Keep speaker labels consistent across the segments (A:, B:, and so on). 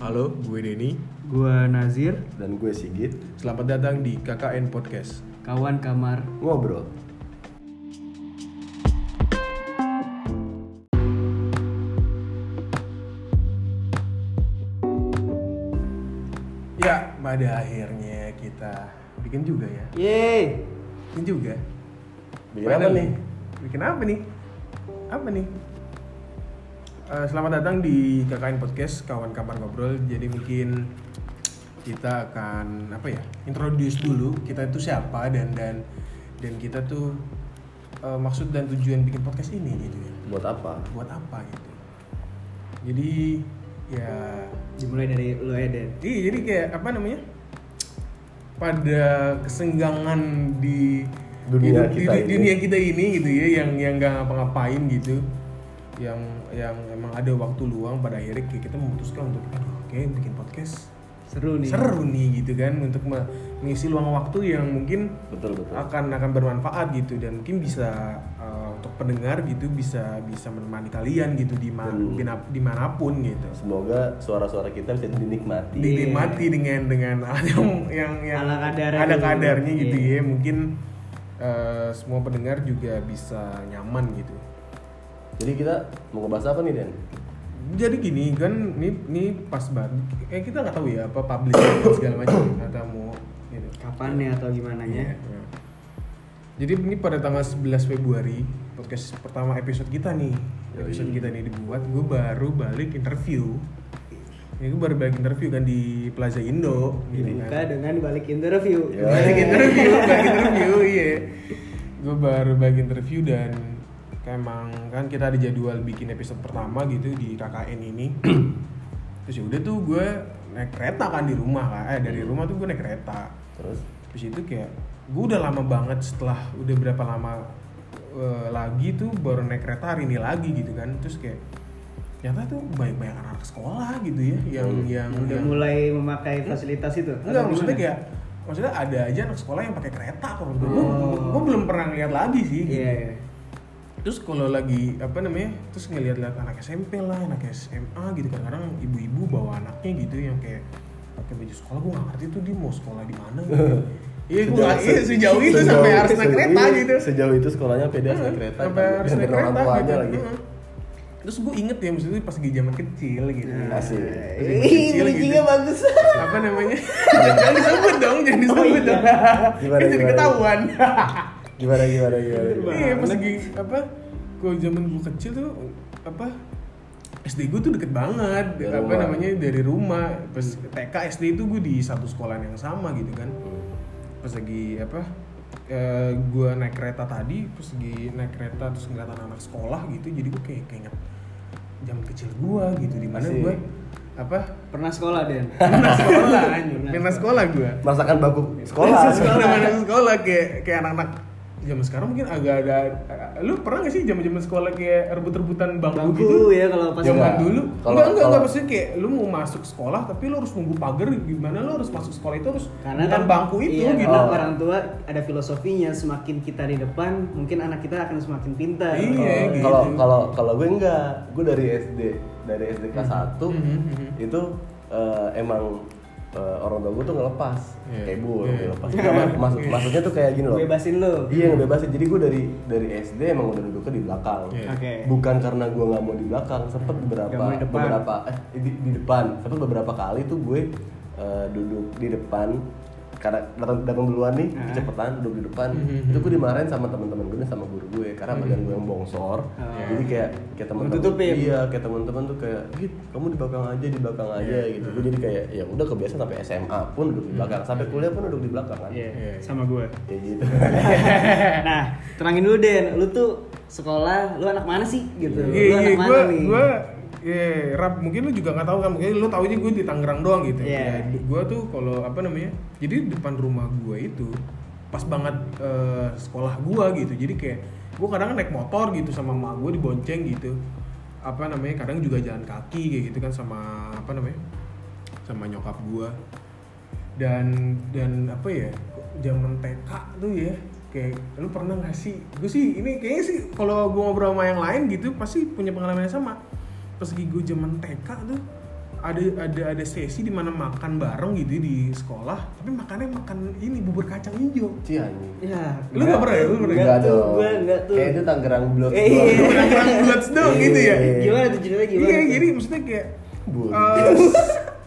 A: Halo, gue Denny.
B: Gua Nazir,
C: dan gue Sigit
A: Selamat datang di KKN Podcast.
B: kawan kamar.
C: ngobrol.
A: Ya, pada akhirnya kita bikin juga ya.
B: Yeay.
A: Bikin juga.
C: Bikin
A: Padahal
C: apa nih?
A: Bikin apa nih? Apa nih? Eh, selamat datang di KKN Podcast, kawan kamar ngobrol. Jadi mungkin kita akan apa ya? Introduce dulu kita itu siapa dan dan dan kita tuh eh, maksud dan tujuan bikin podcast ini gitu ya.
C: Buat apa?
A: Buat apa gitu? Jadi ya
B: Dimulai dari lu ya, Den.
A: Iya, jadi kayak apa namanya? Pada kesenggangan di
C: Dunia
A: hidup-
C: kita
A: di-
C: ini.
A: dunia kita ini gitu ya, yang yang nggak ngapa-ngapain gitu, yang yang emang ada waktu luang pada akhirnya kayak kita memutuskan untuk aduh kayak bikin podcast
B: Seru nih.
A: seru nih gitu kan untuk me- mengisi luang waktu yang mungkin
C: Betul betul.
A: akan akan bermanfaat gitu dan mungkin bisa eh, untuk pendengar gitu bisa bisa menemani kalian gitu di ma-
C: Hmm.
A: bina- dimanapun gitu
C: Semoga suara-suara kita bisa dinikmati.
B: Iya.
A: dinikmati dengan dengan alat yang yang yang
B: Ala kadarnya
A: ada
B: dulu.
A: kadarnya gitu
B: Iya.
A: ya mungkin eh, semua pendengar juga bisa nyaman gitu
C: Jadi kita mau ngebahas apa nih Den?
A: jadi gini kan ini ini pas banget eh kita nggak tahu ya apa publish dan segala macam kata mau gitu
B: Kapan ya atau gimana
A: Iya,
B: ya?
A: iya. jadi ini pada tanggal 11 Februari podcast pertama episode kita nih episode
C: Yoi.
A: kita nih dibuat gue baru balik interview ya, gue baru balik interview kan di Plaza Indo gitu kan.
B: Iya. Dibuka dengan balik interview.
C: Yo.
A: bagi
B: Yeay.
A: interview bagi interview iya gue baru bagi interview dan kayak emang kan kita ada jadwal bikin episode pertama gitu di KKN ini terus ya udah tuh gue naik kereta kan di rumah kan eh
B: Hmm.
A: dari rumah tuh gue naik kereta
C: Terus
A: terus itu kayak gue udah lama banget setelah udah berapa lama eh, lagi tuh baru naik kereta hari ini lagi gitu kan terus kayak ternyata tuh banyak banyak anak sekolah gitu ya yang
C: Hmm.
A: yang
B: Udah
A: yang-
B: mulai memakai fasilitas itu. atau
A: Enggak, maksudnya
B: gimana?
A: kayak maksudnya ada aja anak sekolah yang pakai kereta kalau gue.
B: Oh.
A: Gue belum pernah lihat lagi sih.
B: Iya, iya.
A: Terus kalau lagi apa namanya? Terus ngeliat-liat anak SMP lah, anak SMA gitu kadang-kadang ibu-ibu bawa anaknya gitu yang kayak pakai baju sekolah gue gak ngerti tuh dia mau sekolah di mana gitu. Iya, gue nggak- iya, sejauh itu
C: sejauh-
A: sampai harus naik
C: sejauh-
A: kereta
C: iya,
A: gitu.
C: Sejauh itu sekolahnya pede harus naik kereta.
A: Sampai
C: kan?
A: harus
C: Dan
A: naik
C: orang
A: kereta
C: tuanya
A: gitu.
C: lagi.
A: Heeh. Terus gue inget ya, maksudnya pas lagi zaman kecil gitu.
C: Iya, Asik.
B: Nah, iya. Ih,
A: Kecil gitu.
B: bridgingnya bagus.
A: apa namanya jangan disebut dong jangan disebut
B: iya.
A: dong
C: Gimana,
A: Ini jadi
C: gimana?
A: ketahuan
C: Gimana gimana gimana. gimana?
A: iya pas lagi apa gua zaman gua kecil tuh apa SD gua tuh deket banget
C: Dari
A: apa
C: rumah.
A: namanya dari rumah pas TK SD itu gua di satu sekolah yang sama gitu kan pas lagi apa eh, gua naik kereta tadi pas lagi naik kereta terus ngeliat anak sekolah gitu jadi gua kayak keinget zaman kecil gua gitu di mana
C: Asik.
A: gua apa
B: Pernah sekolah, Den?
A: pernah sekolah anjing
B: Pernah
A: pernah sekolah gua
C: Merasakan baku sekolah.
A: Iya, sekolah mana sekolah kayak kayak anak-anak zaman sekarang mungkin agak ada lu pernah gak sih zaman-zaman sekolah kayak rebut-rebutan bangku, gitu
B: Bangku ya kalau pas
C: Yang
A: zaman
C: Enggak.
A: dulu
C: Kalau-
A: enggak enggak enggak
C: kalau-
A: maksudnya kayak lu mau masuk sekolah tapi lu harus nunggu pagar gimana lu harus masuk sekolah itu harus
B: karena
A: bukan
B: kan
A: bangku itu
B: iya,
A: gitu
B: karena
C: Oh.
B: orang tua ada filosofinya semakin kita di depan mungkin anak kita akan semakin pintar
A: Iya.
C: Kalau-
A: gitu.
C: Kalau kalau kalau gue enggak, gue dari SD dari SD kelas 1
A: Mhm, mhm.
C: itu eh, emang eh, orang tua gue tuh ngelepas
A: Iya.
C: kayak gue
A: Iya.
C: ngelepas. Nah, maksud maksudnya tuh kayak gini loh.
B: bebasin lo
C: Iya ngebebasin. Jadi gue dari dari SD emang udah duduknya di belakang.
A: Iya.
B: Oke.
C: Bukan karena gue nggak mau di belakang, sempet beberapa
B: Nggak mau di depan.
C: beberapa eh di, di depan, sempet beberapa kali tuh gue eh, duduk di depan karena datang datang duluan nih
B: Ah.
C: kecepatan duduk di depan
B: Hmm,
A: Mhm.
C: itu gue dimarahin sama teman-teman gue dan sama guru gue karena badan gue yang bongsor
B: Ah.
C: jadi kayak kayak teman-teman
B: Ditutupin.
C: iya kayak teman-teman tuh kayak "Hit, kamu di belakang aja di belakang aja
B: Iya.
C: gitu
B: Hmm.
C: gue jadi kayak ya udah kebiasaan sampai SMA pun duduk di belakang sampai kuliah pun duduk di belakang kan
B: Iya,
A: Iya.
B: sama gue
C: kayak gitu
B: nah terangin dulu Den lu tuh sekolah lu anak mana sih gitu lu
A: iya iya
B: anak mana
A: gue
B: nih
A: gue Iya, Rap, mungkin lu juga nggak tahu kan, mungkin lu taunya gue di Tangerang doang gitu.
B: Iya.
A: gue tuh kalau apa namanya, jadi depan rumah gue itu pas banget eh, sekolah gue gitu. Jadi kayak gue kadang naik motor gitu sama emak gue dibonceng gitu. Apa namanya, kadang juga jalan kaki kayak gitu kan sama apa namanya, sama nyokap gue. Dan dan apa ya, zaman TK tuh ya kayak lu pernah nggak sih gue sih ini kayaknya sih kalau gue ngobrol sama yang lain gitu pasti punya pengalaman yang sama pas lagi gue zaman TK tuh ada ada ada sesi di mana makan bareng gitu di sekolah tapi makannya makan ini bubur kacang hijau
C: Cia
B: Ya,
A: Lu nggak pernah ya? Lu pernah
C: Enggak
B: Nggak tuh,
C: dong.
B: gue nggak tuh.
C: Kayak gitu. itu Tangerang Blok.
B: Eh, iya.
A: kurang kurang bulat dong gitu ya
C: Iya. gitu.
B: Gimana tuh ceritanya gimana?
A: iya
B: tuh?
A: jadi maksudnya kayak
C: Bun.
A: eh,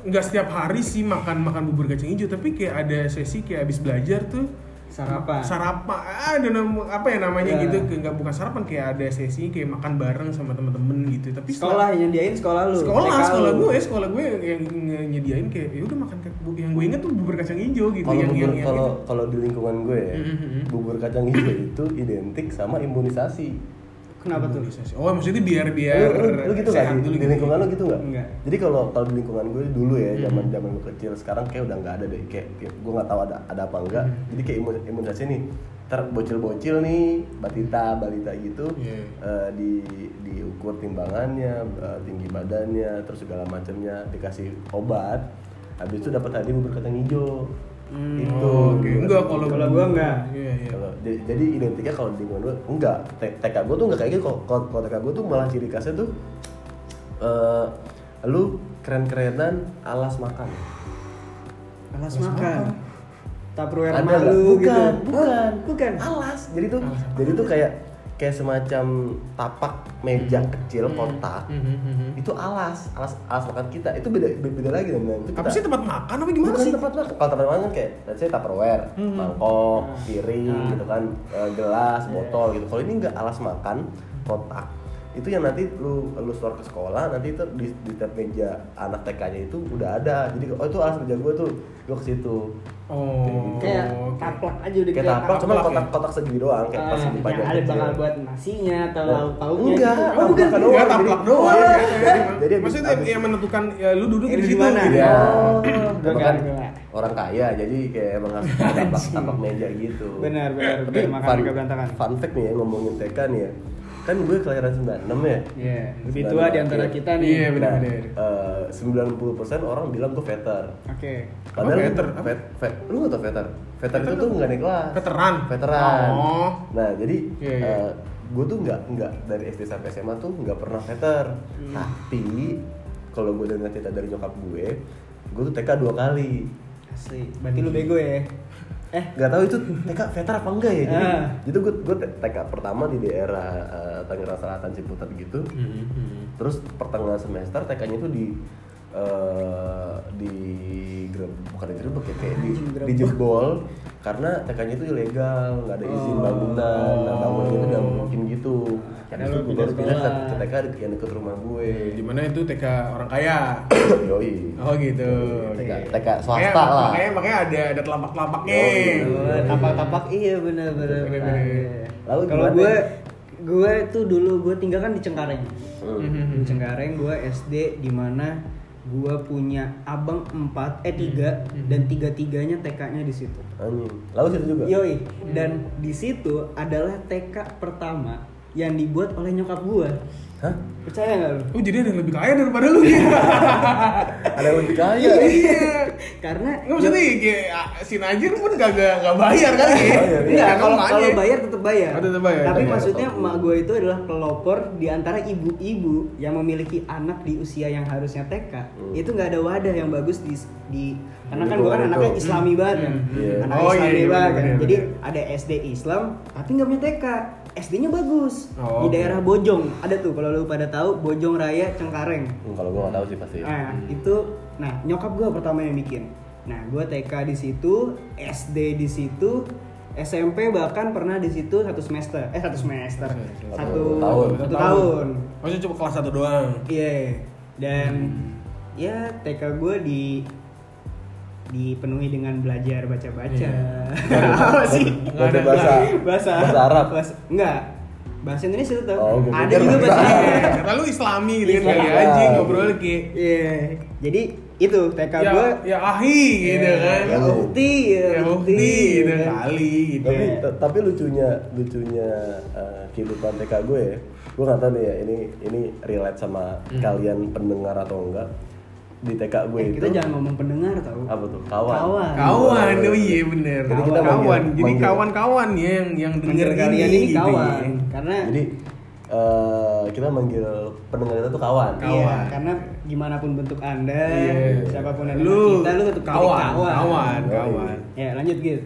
A: nggak setiap hari sih makan makan bubur kacang hijau tapi kayak ada sesi kayak abis belajar tuh
B: sarapan.
A: sarapan Ah, ada nama apa ya namanya
B: Ya.
A: gitu kayak nggak bukan sarapan kayak ada sesi kayak makan bareng sama temen-temen gitu tapi
B: sekolah yang nyediain sekolah lu.
A: sekolah
B: TK lu.
A: sekolah ya. gue sekolah gue yang, yang nge- nyediain kayak ya udah makan ke- bu- yang gue inget tuh bubur kacang hijau gitu
C: Kalau
A: yang
C: bubur
A: yang- yang
C: kalau kalau di lingkungan gue ya,
A: Mhm.
C: bubur kacang hijau itu identik sama imunisasi.
B: Kenapa tuh?
A: imunisasi. oh maksudnya biar biar
C: Lu, lu, lu gitu
A: sehat
C: nggak
A: dulu gitu.
C: di, di
A: Hmm.
C: lingkungan lu gitu nggak?
B: Nggak.
C: Jadi kalau kalau di lingkungan gue dulu ya, zaman zaman gue kecil, sekarang kayak udah nggak ada deh. Kayak, kayak gue nggak tahu ada ada apa enggak.
A: Hmm.
C: Jadi kayak imun- imunisasi nih, ter bocil-bocil nih, batita balita gitu,
A: Iya.
C: eh, di diukur timbangannya, eh, tinggi badannya, terus segala macamnya, dikasih obat. Habis itu dapat hadiah bubur kacang hijau. Gitu. itu
A: oh, oke enggak kalau
B: Kalau gua nggak.
A: iya iya
C: Kalau jadi, jadi identiknya kalau di lingkungan gue enggak. T- TK gue tuh enggak kayak gitu. Kalau- Kalau kalau TK gue tuh malah ciri khasnya tuh eh lu keren-kerenan alas makan.
B: Alas makan. Tupperware
C: Ada
B: malu
C: nggak?
B: gitu.
C: Bukan, bukan,
B: Oh, bukan.
A: Ah.
C: Alas. Jadi tuh jadi tuh kayak kayak semacam tapak meja kecil kotak.
A: Mhm,
B: Hmm.
A: mhm.
C: Itu alas, alas alas makan kita. Itu beda beda lagi dengan itu.
A: apa
C: kita-
A: sih tempat makan apa gimana
C: Bukan
A: sih
C: tempat makan. Kalau tempat makan kan kayak, let's say tupperware,
B: Hmm.
C: mangkok, piring
B: Iya.
C: gitu kan, eh, gelas, botol gitu. Kalau ini nggak alas makan, kotak. Itu yang nanti lu lu store ke sekolah, nanti itu di, di tab meja anak TK-nya itu udah ada. Jadi oh itu alas meja gue tuh, gue ke situ.
A: oh
B: Kayak
A: oke.
B: taplak aja udah
C: Kayak taplak, cuma
A: taplak ya?
C: kotak kotak segini doang, kayak pas
B: Ah,
C: segini
B: yang
C: panjang
B: ada
C: kecil.
B: bakal buat nasinya atau lauk pauknya
C: Enggak,
B: gitu.
A: Oh, bukan.
C: Makan doang.
A: Enggak,
C: Jadi-
A: taplak doang.
C: Iya.
A: Jadi
C: Jadi abis-
A: maksudnya
C: abis-
A: yang menentukan ya, lu duduk
B: Ini
A: di
B: di
A: situ.
B: mana?
A: gitu.
C: Iya.
B: Oh.
C: Emang kan
B: Enggak.
C: orang kaya jadi kayak emang harus tapak tapak meja gitu.
B: Benar, benar,
C: Tapi
B: biar makan
C: fun-
B: agak berantakan.
C: Fun fact nih ya ngomongin TK nih ya. Kan gue kelahiran 96 ya.
B: Iya, lebih tua di antara kita nih.
A: Iya, benar.
C: Nah, eh, 90% orang bilang gue veter.
B: Oke.
A: Oh,
C: Padahal
A: veter?
C: veter, vet, vet- lu gak tau veter? Veter itu tuh nggak naik kelas.
A: Veteran.
C: Veteran.
A: Oh.
C: Nah jadi
A: Iya, iya.
C: gue tuh nggak nggak dari SD sampai SMA tuh nggak pernah veter. Tapi kalau gue dengar cerita dari nyokap gue, gue tuh TK dua kali.
B: Asli. Berarti lu bego ya. Eh,
C: Nggak tahu itu TK veter apa enggak ya? Jadi,
B: Ah.
C: jadi gue gue TK pertama di daerah eh, Tangerang Selatan Ciputat gitu. Terus pertengahan semester TK-nya itu di eh, di grab- bukan di grebek ya, kayak di,
B: Grebek.
C: dijebol karena TK-nya itu ilegal, nggak ada izin bangunan, nah bangunannya itu udah mungkin gitu. Habis itu
B: lu
C: gue
B: pindah
C: baru pindah ke
B: sekolah.
C: ke TK deket- yang deket rumah gue.
A: Di mana itu TK orang kaya.
C: Yoi.
A: Oh gitu.
C: TK,
A: Oke.
C: TK
A: Makanya-
C: swasta lah.
A: Makanya makanya ada ada telapak-telapaknya. Hmm,
C: Yo, gitu.
B: Oh, tapak-tapak iya bener bener.
A: Bener,
B: bener. iya.
A: bener.
C: Lalu
B: Kalau
C: gimana?
B: gue gue tuh dulu gue tinggal kan di Cengkareng.
C: Hmm.
B: Di Cengkareng gue SD di mana gue punya abang 4 eh 3 dan tiga-tiganya TK-nya di situ.
C: Anjing. Lalu situ juga.
B: Yoi, dan di situ adalah TK pertama yang dibuat oleh nyokap gue.
C: Hah?
B: Percaya nggak lu?
A: Oh jadi ada yang lebih kaya daripada lu gitu.
C: Ada yang lebih kaya.
A: Iya.
B: Karena
A: Nggak maksudnya kayak ah, si Najir pun gak, gak, gak bayar kan ya?
C: Bayar,
B: Iya,
A: Iya,
B: kalau
A: makanya.
B: kalau bayar tetap bayar.
A: Oh, tetep bayar.
B: Tapi
C: Tetep
B: maksudnya
C: bayar.
B: emak gue itu adalah pelopor di antara ibu-ibu yang memiliki anak di usia yang harusnya TK.
A: Hmm.
B: Itu nggak ada wadah yang bagus di di karena kan gue kan
C: Lingkungan
B: anaknya
C: itu.
B: Islami banget kan.
A: Hmm,
C: iya.
B: Anak
A: Oh, iya,
B: Islami
A: iya,
B: banget.
A: bener,
B: kan.
A: bener,
B: Jadi
A: bener.
B: ada SD Islam tapi nggak punya TK. SD-nya bagus.
A: Oh,
B: di daerah Bojong. Ada tuh kalau lu pada tahu Bojong Raya Cengkareng.
C: Hmm, Kalau gue nggak tahu sih
A: Ah.
C: pasti.
B: Nah, itu nah nyokap gue pertama yang bikin. Nah, gue TK di situ, SD di situ, SMP bahkan pernah di situ satu semester. Eh, satu semester.
A: Satu
B: Satu
C: tahun.
B: Satu tahun.
A: Maksudnya cuma kelas 1 doang.
B: Iya. Dan
C: Hmm.
B: ya TK gue di dipenuhi dengan belajar baca-baca. Apa sih?
A: Nggak ada
C: Bahasa Iya. bahasa,
B: Bahasa
C: bahasa Arab.
B: Bahasa, enggak. Bahasa Indonesia tetap.
C: Oh, gua
B: ada
C: pikir
B: juga bahasa
C: bahasa-
B: Inggris.
A: Eh, Kata lu islami gitu kan,
B: Islami.
A: ya anjing ngobrol kayak
B: Iya. Jadi itu TK
A: ya,
B: gue
A: ya ahi gitu
C: Eh,
A: kan.
B: Ya bukti, ya kan.
A: Ya
B: bukti.
A: bukti gitu
B: iya.
A: kali gitu.
C: tapi t- tapi lucunya lucunya eh, kehidupan TK gue ya gue nggak tahu nih ya ini ini relate sama kalian pendengar atau enggak di TK
B: Hmm.
C: gue
B: Eh,
C: itu
B: kita jangan ngomong pendengar tau.
C: gitu. apa tuh kawan
B: Kawan.
A: Kawan, oh iya bener.
C: Jadi
A: Kawan,
C: kita manggil-
A: kawan. Jadi
C: manggil-
A: kawan-kawan ya yang yang denger
B: Dengar kalian ini
A: gitu ya.
B: kawan, karena
C: jadi eh, eh, kita manggil pendengar kita tuh kawan.
A: Kawan.
B: Iya, karena gimana pun bentuk anda,
A: Iya.
B: siapapun yang
A: Lu
B: kita, lu tetap jadi
A: kawan, kawan, kawan.
B: Ya lanjut gitu.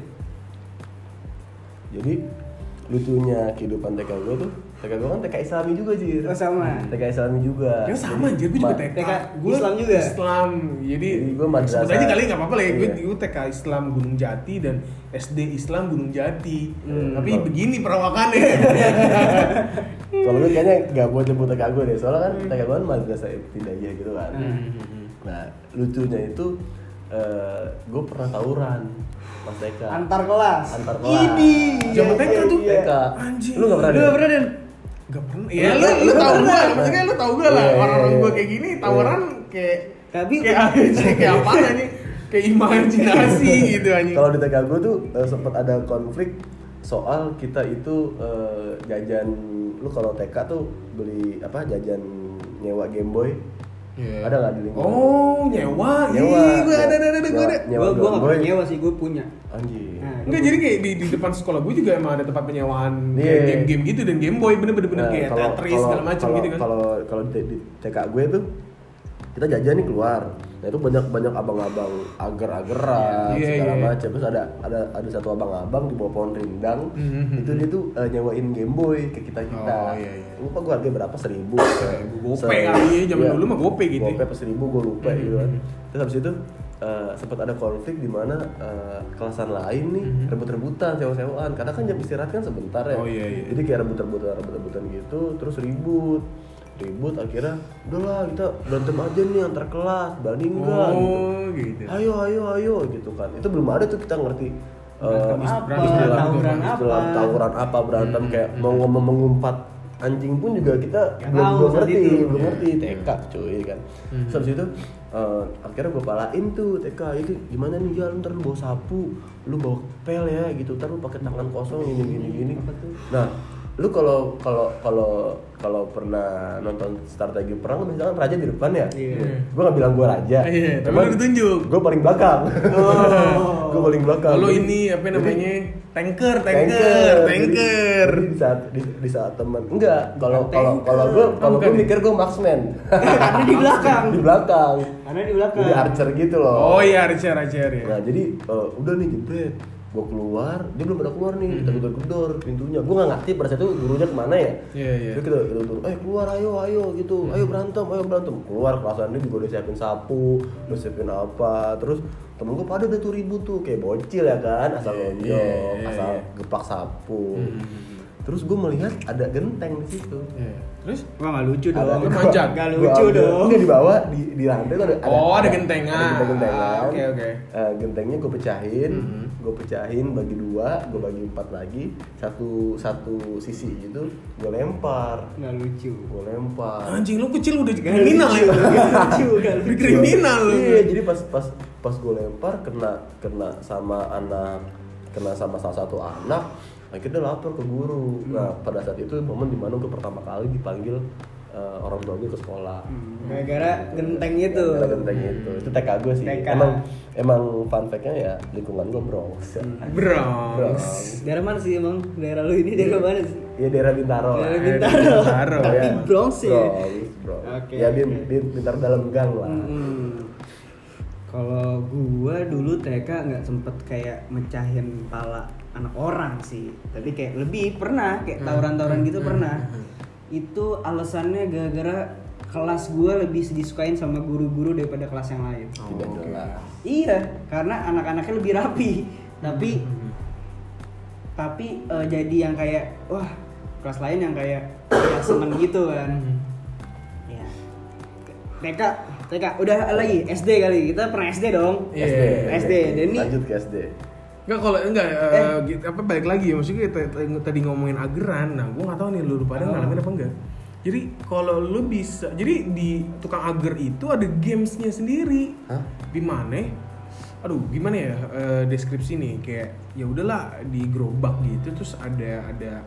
C: Jadi lucunya kehidupan TK gue tuh TK gue kan TK Islami juga Jir
B: Oh, sama.
C: TK Islami juga
A: Ya sama anjir, gue juga
C: ma-
A: TK.
B: TK
A: Gua
B: Islam juga.
A: Islam. Jadi
C: Jadi Iya, gua madrasah.
A: sebut aja kali nggak apa-apa lah ya. Gue
C: Iya.
A: gue TK Islam Gunung Jati dan SD Islam Gunung Jati.
B: Hmm.
A: Tapi begini perawakannya.
C: Iya. Kalau lu kayaknya gak buat nyebut TK gue deh Soalnya kan TK gue kan madrasah ibtidaiyah gitu kan Nah lucunya itu eh, Gue pernah tawuran Pas TK
B: Antar kelas.
C: Antar kelas.
B: Ini.
A: Zaman
B: iya,
A: TK
B: iya,
A: tuh.
B: iya.
C: TK
A: Anjing.
C: Lu gak pernah
B: Lu
C: deh?
B: nggak pernah dan?
A: Gak pernah. Ya
C: Lu-
A: lu lu
C: lu
A: tau
C: pernah.
A: gue, maksudnya lu tau gue lah.
C: Iya, iya,
A: Orang-orang
C: iya.
A: gue kayak gini tawaran kayak
B: Tapi
A: kayak kayak apa nih? Kayak imajinasi gitu anjing.
C: Kalau di TK gue tuh eh, sempet ada konflik soal kita itu eh, jajan lu kalau TK tuh beli apa jajan nyewa Game Boy
A: Iya.
C: ada nggak di lingkungan?
A: Oh, nyewa.
C: Nyewa.
A: Ih, gue ada ada ada ada, gue ada.
C: Nyewa Iya.
B: Gue gue nggak
C: Boy.
B: pernah nyewa sih, gue punya.
C: Anjir.
B: Nah,
A: Enggak jadi kayak di, di depan sekolah gue juga emang ada tempat penyewaan
C: Iya.
A: kayak game-game gitu dan Game Boy bener-bener bener
C: Nah,
A: kayak
C: kalau-
A: Tetris
C: kalau-
A: segala macam
C: kalau-
A: gitu kan.
C: Kalau kalau di, di TK gue tuh kita jajan nih keluar. Nah itu banyak banyak abang-abang agar-agaran
A: Iya,
C: segala
A: iya.
C: macam. Terus ada ada ada satu abang-abang di bawah pohon rindang.
A: Mhm.
C: Itu dia tuh eh, nyewain Game Boy ke kita kita.
A: Oh, iya, iya.
C: Lupa gue harga berapa seribu. Iya.
A: Seribu gope kali ya, zaman dulu mah gope gitu ya.
C: Gope apa seribu gue lupa gitu kan.
A: Mm-hmm.
C: Terus habis itu eh, sempat ada konflik di mana eh, kelasan lain nih rebut-rebutan, sewa-sewaan. Karena kan jam istirahat kan sebentar ya.
A: Mm-hmm. Oh, iya, iya.
C: Jadi kayak rebut-rebutan, rebut-rebutan gitu, terus ribut ribut akhirnya udahlah kita berantem aja nih antar kelas berani enggak
A: Oh, gitu.
C: gitu ayo ayo ayo gitu kan itu belum ada tuh kita ngerti eh,
B: Berantem apa,
C: istilah-
B: tawuran
C: istilah
B: apa.
C: tawuran apa berantem
A: Hmm.
C: kayak mau ngomong mengumpat anjing pun juga kita
B: Nggak
C: belum,
B: tahu
C: belum
B: saat
C: ngerti
B: itu.
C: belum ngerti
A: Iya.
C: TK cuy kan
A: Hmm.
C: terus habis itu eh, akhirnya gue palain tuh TK itu gimana nih ya lu ntar lu bawa sapu lu bawa pel ya gitu ntar lu pakai tangan kosong gini gini gini nah lu kalau kalau kalau kalau pernah nonton strategi perang lu biasanya kan raja di depan ya
B: Iya.
C: gue gak bilang gue raja
A: Iya, tapi lu ditunjuk.
C: gue paling belakang gue paling belakang
A: Oh. Kalau
C: Jadi-
A: ini apa namanya? Tanker, tanker,
C: tanker
A: tanker.
C: Jadi- jadi di saat di, di saat teman enggak kalau
B: Bukan
C: kalau kalau gue
A: Oh,
B: tanker.
C: kalau gue
A: Bukan.
C: mikir gue marksman
B: Karena di belakang.
C: di belakang
B: Karena di belakang.
C: jadi archer gitu loh
A: Oh iya, Richard, Richard ya.
C: nah jadi eh, udah nih jebret gue keluar dia belum pada keluar nih
A: Hmm.
C: kita gedor gedor pintunya gue nggak ngerti pada saat itu gurunya kemana ya
A: Iya, iya. Hmm.
C: Terus kita kita turun, eh keluar ayo ayo gitu, ayo berantem, ayo berantem. Keluar kelasan dia juga udah siapin sapu, udah siapin apa. Terus temen gue pada udah tuh ribut tuh kayak bocil ya kan, asal
A: Iya,
C: lonjong,
A: iya, iya,
C: asal
A: iya.
C: gepak sapu.
A: Hmm.
C: Terus gue melihat ada genteng di situ.
A: Iya. Terus
B: Wah nggak lucu
C: Ada
B: dong.
A: lu manjat.
B: Nggak
C: Gua
B: lucu
C: ambil-
B: dong.
C: Enggak di bawah di di lantai tuh ada
A: Oh, ada gentengan.
C: Ada gentengan.
A: Ah, oke, oke.
C: Eh, gentengnya gue pecahin,
A: Mhm.
C: gue pecahin bagi dua, gue bagi empat lagi, satu satu sisi gitu, gue lempar
B: Nggak lucu.
C: gue lempar
A: anjing lu kecil udah
B: Nggak lucu.
A: kriminal ya.
B: Nggak lucu. nggak
A: Lu
B: lucu.
A: kriminal lu.
C: iya jadi pas pas pas gue lempar kena kena sama anak kena sama salah satu anak akhirnya lapor ke guru nah
A: Hmm.
C: pada saat itu momen dimana gue pertama kali dipanggil eh, orang tua gue ke sekolah
A: Hmm.
B: Gara-gara genteng itu.
C: Gara-gara genteng itu itu TK gue sih
B: TK.
C: emang emang fun fact-nya ya lingkungan gue Bronx ya.
B: Hmm.
A: Bronx.
B: Daerah mana sih emang? Daerah lu ini daerah mana sih?
C: ya daerah Bintaro lah. Iya.
B: Daerah
A: Daerah
B: Bintaro.
A: Bintaro,
B: Tapi
A: ya.
B: Bronx ya.
C: Bronx, Bronx.
B: Oke,
C: ya bin,
B: oke.
C: bin- Bintaro dalam gang lah
B: Hmm. Kalau gua dulu TK nggak sempet kayak mecahin pala anak orang sih, tapi kayak lebih pernah kayak tawuran-tawuran gitu pernah. Itu alasannya gara-gara kelas gua lebih disukain sama guru-guru daripada kelas yang lain.
C: tidak
A: Oh, oke.
C: jelas
B: Iya, karena anak-anaknya lebih rapi. Tapi
A: Hmm.
B: tapi eh, jadi yang kayak wah, kelas lain yang kayak ya seneng gitu kan. Ya. TK, TK udah lagi SD kali. Kita pernah SD dong.
A: Iya.
B: SD, Denny.
C: lanjut ke SD
A: Enggak kalau enggak eh,
B: Eh.
A: gitu, apa balik lagi ya maksudnya t- t- tadi ngomongin ageran. Nah, gua nggak tahu nih lu pada
B: Oh.
A: ngalamin apa enggak. Jadi kalau lu bisa, jadi di tukang ager itu ada gamesnya sendiri.
C: Hah?
A: Di mana? Aduh, gimana ya eh, deskripsi nih kayak ya udahlah di gerobak gitu terus ada ada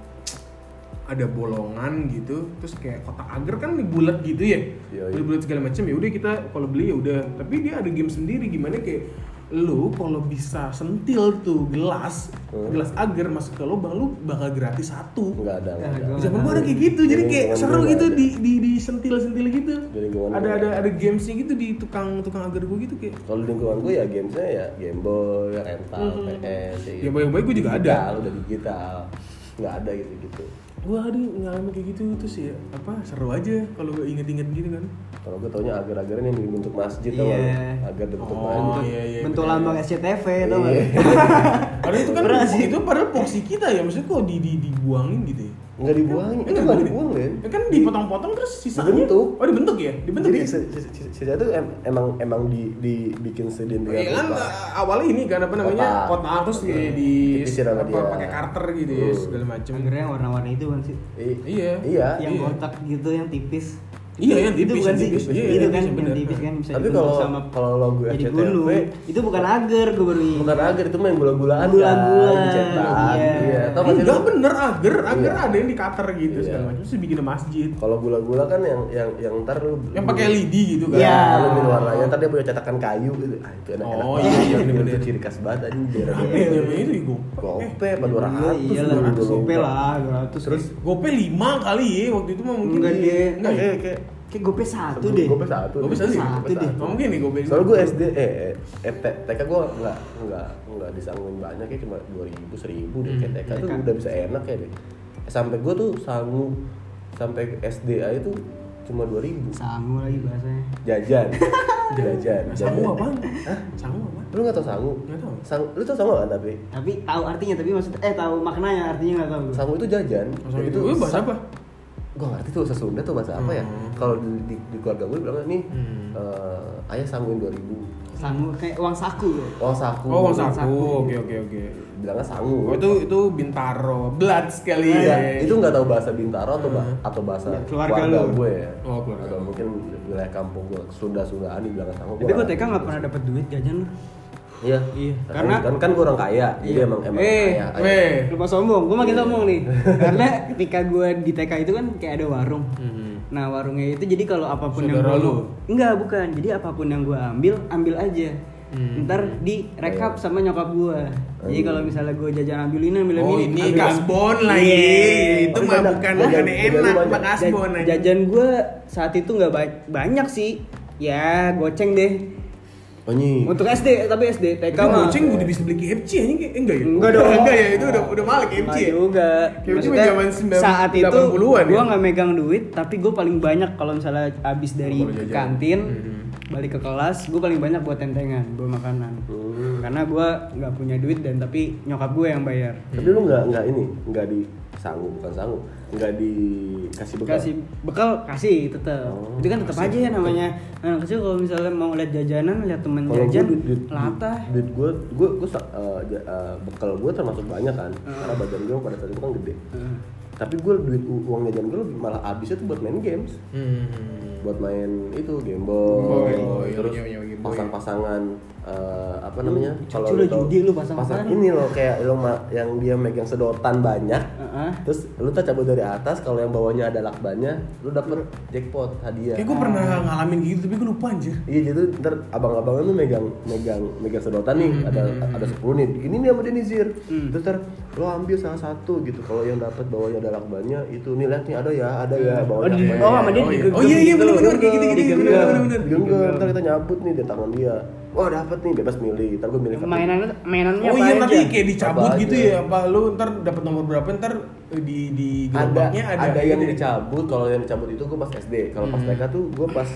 A: ada bolongan gitu terus kayak kotak agar kan bulat gitu ya
C: Iya, iya.
A: bulat segala macam ya udah kita kalau beli ya udah tapi dia ada game sendiri gimana kayak lu kalau bisa sentil tuh gelas
C: Hmm.
A: gelas agar masuk ke lubang lu bakal gratis satu
C: nggak ada Nah, nggak ada
A: di zaman gua ada kayak gitu jadi
C: Jadi
A: kayak
C: zaman
A: seru
C: gua
A: gitu
C: ada.
A: di di di sentil sentil gitu
C: Di lingkungan
A: ada
C: gua
A: ada
C: ada.
A: ada gamesnya gitu di tukang tukang agar gua gitu kayak
C: kalau di lingkungan gue ya gamesnya ya Game Boy, rental,
B: Hmm.
C: PS ya gitu.
A: ya baik baik gua juga ada
C: Digital, udah digital nggak ada gitu gitu
A: gua ada ngalamin kayak gitu terus ya apa seru aja kalau gua inget-inget gitu kan
C: kalau gue taunya agar-agarnya yang dibentuk masjid
B: Iya. Iya,
C: tau nggak? agar dibentuk
A: Oh,
C: masjid Iya.
A: iya, iya,
B: bentuk
A: bener.
B: lambang SCTV itu
A: Padahal itu kan
B: Beras.
A: itu padahal porsi kita ya maksudnya kok di, di dibuangin gitu ya
C: nggak dibuang itu
A: Enggak,
C: nggak
A: bukan.
C: dibuang Len.
A: Ya kan dipotong-potong terus sisanya
C: Dibentuk.
A: oh dibentuk ya dibentuk
C: jadi
A: ya
C: se- se- se- sisa itu em- emang emang di, dibikin sedentik
A: Iya kan eh, awalnya ini kan apa namanya
C: Kotak.
A: kotak terus
C: Oke.
A: di, di
C: Dipisir sama
A: apa,
C: dia.
A: pakai karter gitu ya
C: Hmm.
A: segala macam.
B: agarnya yang warna-warna itu kan sih
A: Iya.
C: iya
B: yang
A: Iya.
B: kotak gitu yang tipis
A: Iya, yang
B: itu
A: tipis,
B: bukan
A: yang
B: sih
A: tipis. Iya,
B: itu
A: yang tipis,
B: kan yang
A: bener.
B: tipis kan bisa
C: tapi
B: dibentuk
C: kalau
B: sama
C: kalau logo
B: jadi
C: SCTV
B: gulung itu bukan agar gue baru ingat.
C: bukan agar itu main bola-bolaan
B: Bola-bolaan,
C: kan dicetak
B: iya.
C: iya tau nggak sih
A: Enggak
C: lu?
A: bener agar agar
C: Iya.
A: ada yang di cutter gitu
C: Iya.
A: segala macam terus bikin masjid.
C: kalau gula-gula kan yang yang yang ntar lu
A: Yang pakai LED gitu kan.
B: Iya.
C: Lalu di ya, warnanya ntar dia punya cetakan kayu gitu. Ah, itu enak-enak.
A: Oh,
C: banget.
A: iya,
C: Itu
A: bener-bener.
C: ciri khas banget anjir.
A: Berapa ya zaman itu ya gope?
C: iya. Gope apa 200?
B: iya lah
C: 200
B: gope lah 200
C: Terus
A: Gope lima kali ya waktu itu mah mungkin.
B: Enggak,
A: iya.
B: deh.
A: Enggak ya?
C: kayak eh, kayak
B: kayak gope satu deh
C: Gope satu.
A: Gope satu ya?
B: Satu deh.
A: Oh, mungkin nih gope. lima.
C: Soalnya gue SD eh eh, eh T- TK gue nggak nggak nggak disanggungin banyak ya cuma 2000 1000 deh
A: Hmm,
C: kayak TK tuh
B: TK.
C: udah bisa enak ya deh. Sampai gue tuh sanggup sampai SD aja tuh cuma 2000
B: sangu lagi bahasanya
C: jajan jajan
A: Sangu
C: jajan.
A: apa? Hah? Sangu apa?
C: lu nggak tau sangu
A: Nggak tahu.
C: Sang, lu tau sangu nggak tapi
B: tapi tahu artinya tapi maksud eh tahu maknanya artinya nggak tahu gue
C: sangu itu jajan
A: Sangu
C: Jadi
A: itu eh, bahasa
C: sa-
A: apa?
C: gua nggak ngerti tuh bahasa Sunda tuh bahasa apa ya
A: Hmm.
C: kalau di, di- di keluarga gue bilang nih
A: Hmm.
C: eh, ayah sangguin 2000
B: sangu kayak uang saku loh
C: uang saku
A: Oh, uang
B: saku.
A: saku. Oke, oke, oke.
C: bilangnya sangu
A: Oh itu itu Bintaro, Blood sekali
C: Iya,
A: ya.
C: itu nggak tahu bahasa Bintaro atau ba- atau bahasa
B: Ya, keluarga lu.
C: gue ya.
A: Oh, keluarga
C: Atau
A: lu.
C: mungkin wilayah kampung gue Sunda Sundaan dibilang sangu.
B: tapi gue TK nggak pernah dapet duit jajan lu
C: Iya.
B: Iya, karena-
C: Karena
B: Iya.
C: kan kan gue orang kaya, jadi emang emang
A: Eh,
C: kaya. iya.
A: weh.
B: lupa sombong gue makin sombong nih karena ketika gue di TK itu kan kayak ada warung
A: Hmm.
B: nah warungnya itu jadi kalau apapun
A: Saudara
B: yang gua-
A: lu?
B: enggak bukan jadi apapun yang gue ambil ambil aja
A: Hmm.
B: ntar di rekap sama nyokap gue jadi
C: Hmm.
B: kalau misalnya gue jajan ambil ini ambil
A: Oh
B: ini
A: ini
B: ambil-
C: kan-
A: kasbon
C: Iya,
A: lagi,
B: Iya,
A: itu
C: Tapi
A: mah
C: banyak-
A: bukan
C: banyak-
A: bukan
C: banyak
A: enak,
C: banyak.
A: mah kasbon
B: Ja-
A: aja.
B: jajan gue saat itu nggak ba- banyak sih ya goceng deh
C: Onyi.
B: untuk SD tapi SD TK
A: Itu
B: mah
A: kucing udah bisa beli KFC anjing eh, enggak ya?
B: Enggak dong.
A: Enggak ya, itu udah udah malah KFC.
B: Nggak
A: ya?
B: juga.
A: KFC
B: Maksudnya
A: zaman 90-an
B: saat itu
A: 80-an ya?
B: gue nggak megang duit, tapi gue paling banyak kalau misalnya abis dari
A: Kalau jajan.
B: kantin
A: Mhm.
B: balik ke kelas, gue paling banyak buat tentengan, buat makanan. Karena gue nggak punya duit dan tapi nyokap gue yang bayar.
C: Tapi lu nggak nggak ini nggak di sangu bukan sangu nggak dikasih bekal.
B: Kasih bekal, kasih tetap.
C: Oh,
B: itu kan tetap aja ya namanya anak kecil kalau misalnya mau lihat jajanan, lihat temen
C: Kalau
B: jajan,
C: gue duit, duit,
B: latah.
C: duit gue gue gue uh, ja- uh, bekal gue termasuk banyak kan
B: Eh.
C: karena badan gue pada saat itu kan gede.
B: Heeh.
C: Tapi gue duit u- uang jajan gue lebih malah habisnya tuh buat main games,
A: Hmm.
C: buat main itu game
A: Oh,
C: boy,
A: Game Boy.
C: terus
A: Iya, iya, Game Boy.
C: pasang-pasangan uh, apa namanya?
B: cucu lu
C: tau-
B: judi lu pasang-pasangan.
C: Pasang, ini loh kayak lo ma- yang dia megang sedotan banyak.
B: Heeh.
C: Terus lu tak cabut dari atas kalau yang bawahnya ada lakbannya, lu dapet jackpot hadiah.
A: Kayak gue pernah ngalamin gitu tapi gue lupa anjir.
C: Iya jadi ntar abang-abangan tuh megang megang megang sedotan nih
B: Hmm.
C: ada ada sepuluh nih ini nih sama Denizir terus ntar lo ambil salah satu gitu kalau yang dapat bawahnya ada lakbannya itu nih lihat nih ada ya ada ya bawahnya
B: di-
C: lakbannya
B: oh, sama dia
A: iya.
B: digenggam
A: Oh iya iya
B: gitu,
A: benar benar kayak gitu gitu.
B: digenggam.
A: Benar benar.
C: digenggam ntar kita nyabut nih dari tangan dia wah dapat nih bebas milih ntar gue milih kartu
B: Mainannya, mainannya
A: Oh
B: apa
A: iya
B: aja?
A: tadi kayak dicabut
C: Apa
A: gitu
C: aja.
A: ya apa lu ntar dapat nomor berapa ntar eh, di di
C: ada
A: gerobaknya
C: ada, yang
A: gitu ya?
C: dicabut kalau yang dicabut itu gue pas SD kalau pas
A: Hmm.
C: TK tuh gue pas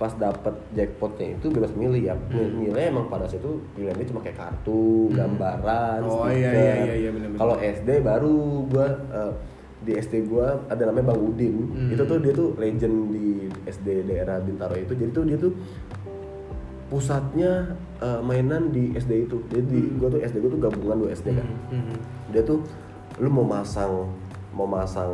C: pas dapet jackpotnya itu bebas milih ya
A: Hmm.
C: Mil- milih emang pada saat itu pilihannya cuma kayak kartu gambaran
A: Oh, iya,
C: stiker.
A: iya, iya, iya, benar-benar.
C: kalau SD baru gue di SD gue ada namanya Bang Udin
A: Hmm.
C: itu tuh dia tuh legend di SD daerah Bintaro itu jadi tuh dia tuh pusatnya eh, mainan di SD ya kan. itu jadi gue tuh SD gue tuh gabungan dua SD kan
A: Hmm.
C: dia tuh lu mau masang mau masang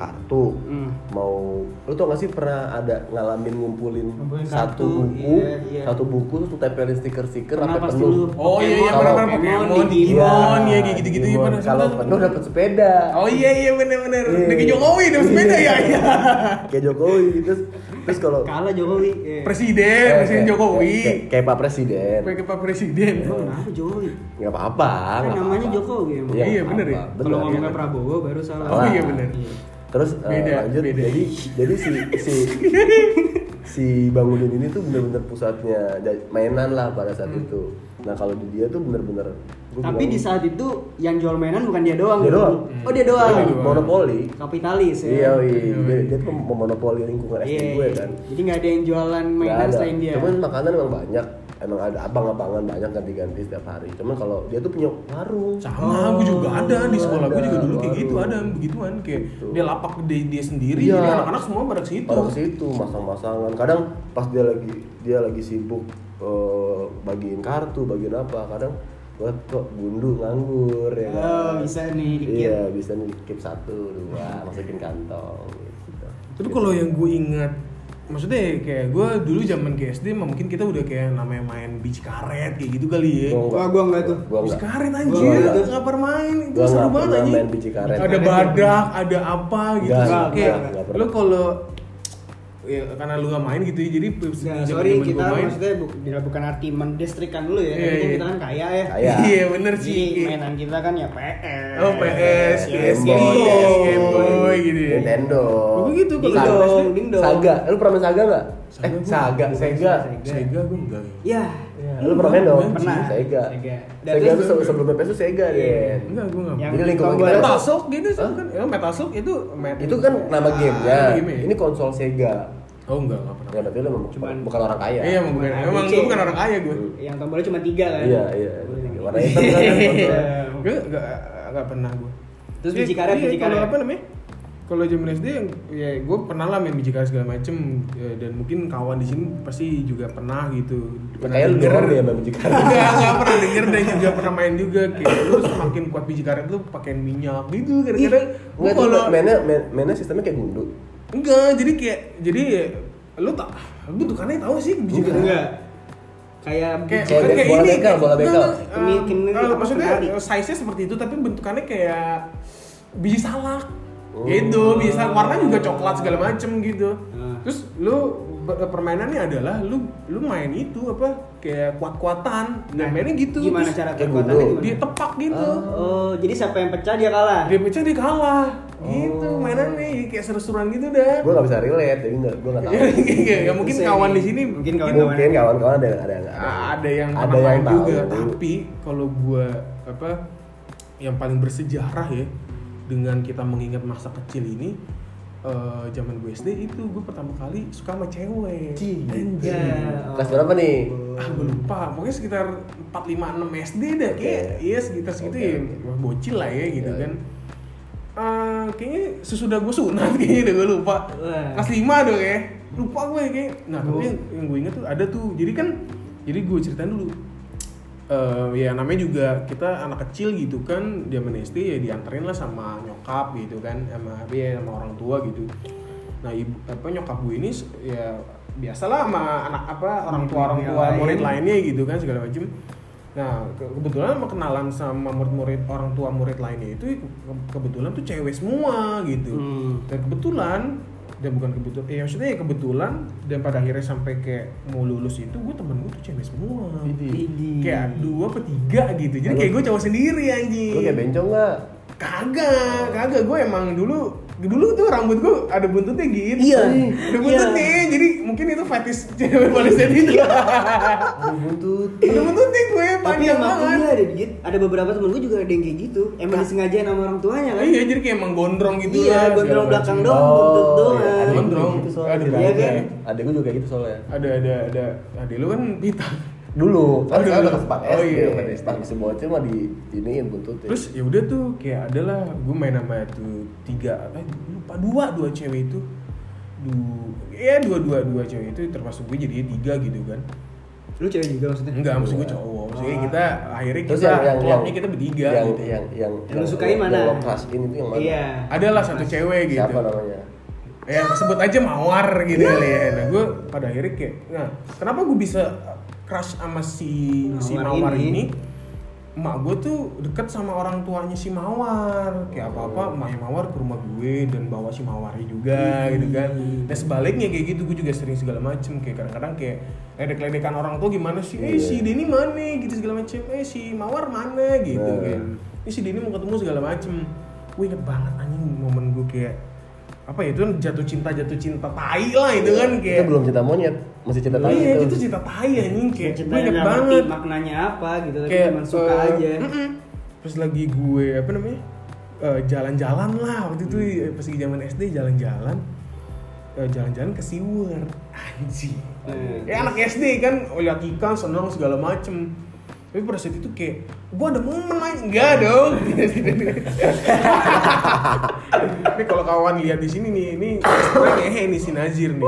C: kartu
B: Hmm.
C: mau lu tau gak sih pernah ada ngalamin ngumpulin
B: Ngumpulin
C: satu
B: kartu,
C: buku
B: iya, iya.
C: satu buku terus lu tempelin stiker-stiker
B: Pernah
C: sampai
B: pas
C: penuh
B: dulu.
A: Oh iya iya
C: Kalau iya.
A: benar benar
B: Pokemon,
A: Pokemon, Digimon, ya kayak gitu-gitu ya
C: Digimon.
A: benar
C: kalau
A: benar.
C: penuh dapat sepeda
A: Oh iya iya benar benar.
C: Iya.
A: Dengan Jokowi dan sepeda ya. iya.
C: kayak Jokowi terus terus kalau
B: Kalah Jokowi. Eh.
A: Presiden,
C: eh,
A: Presiden
C: kayak-
A: Jokowi.
C: kayak, kayak Pak Presiden
A: Pakai Pak Presiden.
B: Oh, kenapa Jokowi?
C: nggak apa-apa
B: Kan
C: nggak
B: namanya
C: apa-apa.
B: Jokowi emang. Iya. Nah,
A: Iya,
C: nggak
A: bener ya?
C: apa-apa.
B: Kalau
C: Bener.
B: ngomongnya Prabowo baru salah.
A: Oh iya benar.
C: terus eh,
A: Beda,
C: lanjut
A: beda.
C: jadi jadi si si si bangunin ini tuh bener-bener pusatnya ja- mainan lah pada saat
A: Hmm.
C: itu nah kalau di dia tuh bener-bener gua
B: Tapi
C: bilang,
B: di saat itu yang jual mainan bukan dia doang.
C: Dia
B: gitu.
C: doang.
B: Oh dia doang.
C: "Lu monopoli
B: Kapitalis
C: iya
B: ya.
C: iya dia, dia tuh memonopoli lingkungan SD
B: Iya.
C: gue kan
B: Jadi nggak ada yang jualan
C: Nggak
B: mainan
C: ada.
B: selain dia.
C: Cuman makanan emang banyak. Emang ada abang-abangan banyak ganti-ganti setiap hari. Cuman kalau dia tuh punya warung.
A: Sama, gue juga ada di sekolah gue juga dulu kayak
C: Oh. Waduh.
A: gitu ada begituan kayak
C: Gitu.
A: dia lapak gede dia sendiri,
C: Iya.
A: jadi anak-anak semua pada ke situ.
C: Orang ke situ masang-masangan. Kadang pas dia lagi dia lagi sibuk eh, bagiin kartu, bagiin apa. Kadang buat kok gundu nganggur ya. kan?
B: Oh, bisa nih dikit.
C: Iya, bisa nih dikip satu, dua, masukin kantong gitu.
A: Tapi kalau yang gue ingat maksudnya kayak gue dulu zaman ke SD mah mungkin kita udah kayak namanya main beach karet kayak gitu kali ya.
C: Gua enggak.
B: Wah, gua enggak tuh.
C: Gua
A: Bis
C: enggak.
A: karet
B: Gua
A: anjir,
B: enggak.
A: nggak pernah main itu
C: Gua
A: seru
C: nggak
A: banget
C: pernah
A: anjir.
C: main biji karet.
A: Ada
B: Nggak
A: badak, ada apa gitu.
C: Nggak,
A: Terus
B: nggak,
A: kayak
C: nggak pernah.
A: lo kalau ya, karena lu nggak main gitu ya, jadi
B: Nah,
A: zaman-zaman
B: sorry
A: gua
B: kita
A: main,
B: maksudnya bu, dia bukan arti mendistrikan dulu
A: Iya,
B: ya. Tapi kan
A: iya.
B: kita kan kaya ya.
C: Iya.
A: Iya bener sih.
B: Jadi mainan kita kan ya PS.
A: Oh PS, PS
C: Eh, Game Boy,
A: Game Boy gitu ya.
C: Nintendo.
A: Gue gitu kalau
B: Saga.
A: zaman SD.
B: Dingdong.
C: Saga, lu pernah main Saga nggak?
A: Saga
C: Eh,
A: gua-
C: Saga,
A: gua-
C: Sega.
A: Sega gue enggak. ya.
B: Ya.
C: Iya, Lu pernah main dong?
A: Pernah.
C: Sega.
B: Sega. Dan
C: Sega
B: terus-
C: tuh se- sebelum PS tuh Sega deh.
A: Enggak, gue enggak.
B: Yang
C: Jadi lingkungan
B: tombolnya
C: kita-
B: tuh-
A: Metasok gitu sih kan. Ya Metasok itu met-
C: Itu kan nama gamenya.
A: Ah, nama gamenya.
C: Ini konsol Sega.
A: Oh enggak, enggak pernah.
C: Ya berarti lu memang
B: Cuman-
C: bukan orang kaya.
A: Iya, emang bukan. Emang gue bukan orang kaya gue.
B: Yang tombolnya cuma tiga kan.
C: Iya, iya. Warna hitam kan
B: Iya.
C: konsol.
A: Gue enggak enggak pernah gue.
B: Terus biji karet,
A: iya,
B: biji
A: Kalau
B: karet.
A: apa namanya? Kalau zaman SD yang ya gue pernah lah main biji karet segala macem Ya, dan mungkin kawan di sini pasti juga pernah gitu. Pernah
C: Kayak lu
A: denger.
C: dorong ya main biji karet.
A: Enggak, enggak pernah denger dan juga pernah main juga kayak lu semakin kuat biji karet lu pakein minyak gitu kadang-kadang gua
C: Enggak tuh
A: kalau
C: mainnya main- mainnya sistemnya kayak gundu.
A: enggak jadi kayak jadi ya, lu tak lu tukannya tahu sih biji
B: Juga
A: karet
B: enggak. Kayak gitu.
A: kayak bukan
C: Bola
A: kayak
C: bekel,
A: ini
C: bola bekel.
A: enggak, enggak,
B: Kini-
A: eh,
B: kini
A: kalau
B: apa,
A: maksudnya
B: kenari.
A: size nya seperti itu tapi bentukannya kayak biji salak
C: Oh.
A: gitu biji salak warna juga coklat segala macem gitu
B: Ah.
A: terus lu ber- permainannya adalah lu lu main itu apa kayak kuat kuatan nah, mainnya gitu
B: Gimana
A: Terus
B: cara
C: kayak
B: kekuatannya
C: gundul.
B: gimana?
A: dia tepak gitu
B: Oh, jadi siapa yang pecah dia kalah.
A: dia pecah dia kalah gitu
C: Oh.
A: mainannya kayak seru-seruan gitu dah
C: Gua nggak bisa relate, jadi nggak- gua nggak tahu.
A: ya mungkin
B: Terus
A: kawan
B: ya,
A: di sini gitu.
B: mungkin kawan-
C: Mungkin kawan-kawan ada ada yang
A: Ah, ada yang
C: ada
A: pernah
C: yang
A: main
C: tahu.
A: juga tapi kalau gua apa yang paling bersejarah ya dengan kita mengingat masa kecil ini eh, zaman gue SD itu gue pertama kali suka sama cewek
C: Cih.
A: anjir
B: Ya, oh.
C: Kelas berapa nih?
A: ah gue lupa pokoknya sekitar 4, 5, 6 SD dah
C: Oke.
A: kayak iya sekitar segitu
C: Oke,
A: ya bocil lah ya gitu
C: Iya,
A: kan Eh, kayaknya sesudah gue sunat kayaknya deh gue lupa
B: Wah.
A: kelas 5 dong ya lupa gue kayak nah tapi yang, yang gue inget tuh ada tuh jadi kan jadi gue ceritain dulu Eh, ya namanya juga kita anak kecil gitu kan zaman SD ya dianterin lah sama nyokap gitu kan sama ya sama orang tua gitu nah ibu apa nyokap gue ini s- ya biasalah sama anak apa orang tua orang tua
B: Yang lain.
A: murid lainnya gitu kan segala macam nah ke- kebetulan sama kenalan sama murid-murid orang tua murid lainnya itu ke- kebetulan tuh cewek semua gitu
B: Hmm.
A: dan kebetulan dan bukan kebetulan ya maksudnya ya kebetulan dan pada akhirnya sampai kayak mau lulus itu gue temen gue tuh cewek semua
B: Idi.
A: kayak dua apa tiga gitu jadi kayak gue cowok sendiri anjing
C: Lu kayak bencong nggak?
A: kagak kagak gue emang dulu dulu tuh rambut gue ada buntutnya gitu
B: Iya.
A: ada buntutnya jadi mungkin itu fetish cewek Palestina itu
B: Iya.
C: Aduh buntut.
A: ada buntutnya gue
B: Tapi
A: panjang
B: emang
A: banget
B: iya ada dikit, ada beberapa temen gue juga ada yang kayak gitu. Emang disengajain sama orang tuanya kan?
A: iya jadi kayak emang gondrong gitu
B: Iya,
A: lah, segala
B: gondrong
A: macam.
B: belakang doang, buntut doang.
C: iya, Ada yang
A: Gondrong.
C: gitu
A: Oh, Ada
C: soalnya. Ada
B: banyak
C: kan?
B: ya.
C: Ada gue juga kayak gitu soalnya.
A: ada ada ada ada lu kan pita
C: Dulu, kan
A: Aduh.
C: sekarang udah kelas 4
A: Oh,
C: SD.
A: iya,
C: Pas
A: iya.
C: Pas si bocil mah di iniin buntutnya.
A: terus ya udah tuh kayak adalah gue main sama tuh tiga eh lupa dua dua cewek itu du ya dua dua dua cewek itu termasuk gue jadinya tiga gitu kan
B: Lu cewek juga maksudnya?
A: Enggak, maksud gue cowok. maksudnya kita akhirnya
C: Terus
A: kita
C: yang yang
A: klubnya kita bertiga
C: yang,
A: gitu.
C: yang yang
B: Yang lu sukai mana?
C: Yang lo crush-in itu yang mana?
B: Iya.
A: Adalah satu cewek gitu.
C: Siapa namanya?
A: ya sebut aja mawar gitu kali ya nah gue pada akhirnya kayak nah kenapa gue bisa crush sama si si mawar
B: Mawar
A: ini,
B: ini?
A: emak gue tuh deket sama orang tuanya si mawar kayak apa apa emaknya mawar ke rumah gue dan bawa si mawarnya juga gitu kan dan sebaliknya kayak gitu gue juga sering segala macem kayak kadang-kadang kayak ledek-ledekan orang tuh gimana sih eh si Denny mana gitu segala macem eh si mawar mana gitu
C: Nah.
A: kayak ini si Denny mau ketemu segala macem gue inget banget anjing momen gue kayak apa ya itu kan jatuh cinta jatuh cinta tai lah itu kan kayak
C: Itu Iya, belum cinta monyet, masih cinta tai
A: iya
C: itu.
A: itu cinta tai anjing kayak
B: Cinta
A: gue
B: yang
A: inget
B: nggak ngerti
A: banget
B: maknanya apa gitu tapi
A: kayak
B: cuma suka
A: eh,
B: aja
A: mm-mm. terus lagi gue apa namanya eh, jalan-jalan lah waktu itu
C: Hmm.
A: eh, pas lagi zaman SD jalan-jalan Eh, jalan-jalan ke Siwur anjing
B: Hmm.
A: ya anak SD kan lihat ikan senang segala macem tapi pada saat itu kayak gua ada momen aja enggak dong ini kalau kawan lihat di sini nih ini sebenarnya ngehe nih si Nazir nih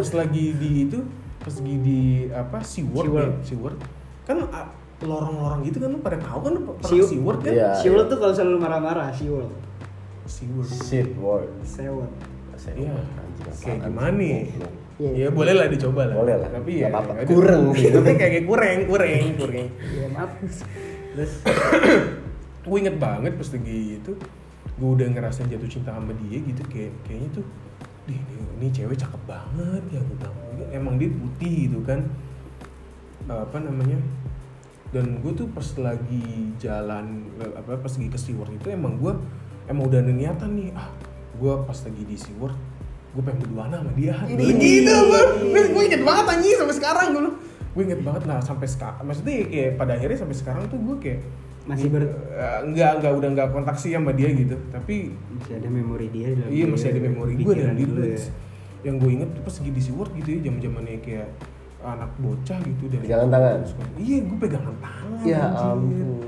A: pas lagi di itu pas lagi di apa SeaWorld ya
B: SeaWorld.
A: SeaWorld kan ah, lorong-lorong gitu kan lu pada tahu kan lu pernah
B: Siu-
A: SeaWorld kan
C: Iya.
B: Siul tuh kalau selalu marah-marah Siul
A: SeaWorld
C: Shit word.
B: Sewot
C: Saya
A: Iya.
C: anjing,
A: kayak
C: apaan
A: gimana nih
C: sih?
B: Iya.
A: ya boleh lah dicoba lah
C: Boleh lah.
A: tapi ya
C: Nggak apa-apa.
A: ya udah.
C: Kurang gitu.
A: tapi kayak kurang kurang kurang
B: Iya maaf Terus
A: gue inget banget pas lagi itu gue udah ngerasain jatuh cinta sama dia gitu kayak kayaknya tuh "Dih, ini, ini cewek cakep banget ya gue bilang emang dia putih gitu kan apa namanya dan gue tuh pas lagi jalan eh, apa pas lagi ke SeaWorld itu emang gue emang udah ada niatan nih ah gue pas lagi di SeaWorld gue pengen berduaan sama dia
B: Ini.
A: gitu gue gue inget banget anjing sampai sekarang gue gue inget banget lah sampai sekarang maksudnya kayak pada akhirnya sampai sekarang tuh gue kayak
B: masih ber
A: Eh, enggak enggak udah enggak kontak sih sama dia gitu tapi
B: masih ada memori dia di dalam
A: iya
B: diri-
A: masih ada memori gue
B: pikiran
A: dan di
B: dulu ya.
A: yang gue inget tuh pas lagi di SeaWorld gitu ya jam zamannya kayak anak bocah gitu dan
C: Pegangan tangan?
A: iya gue pegangan tangan
C: Ya
A: anjir.
C: ampun.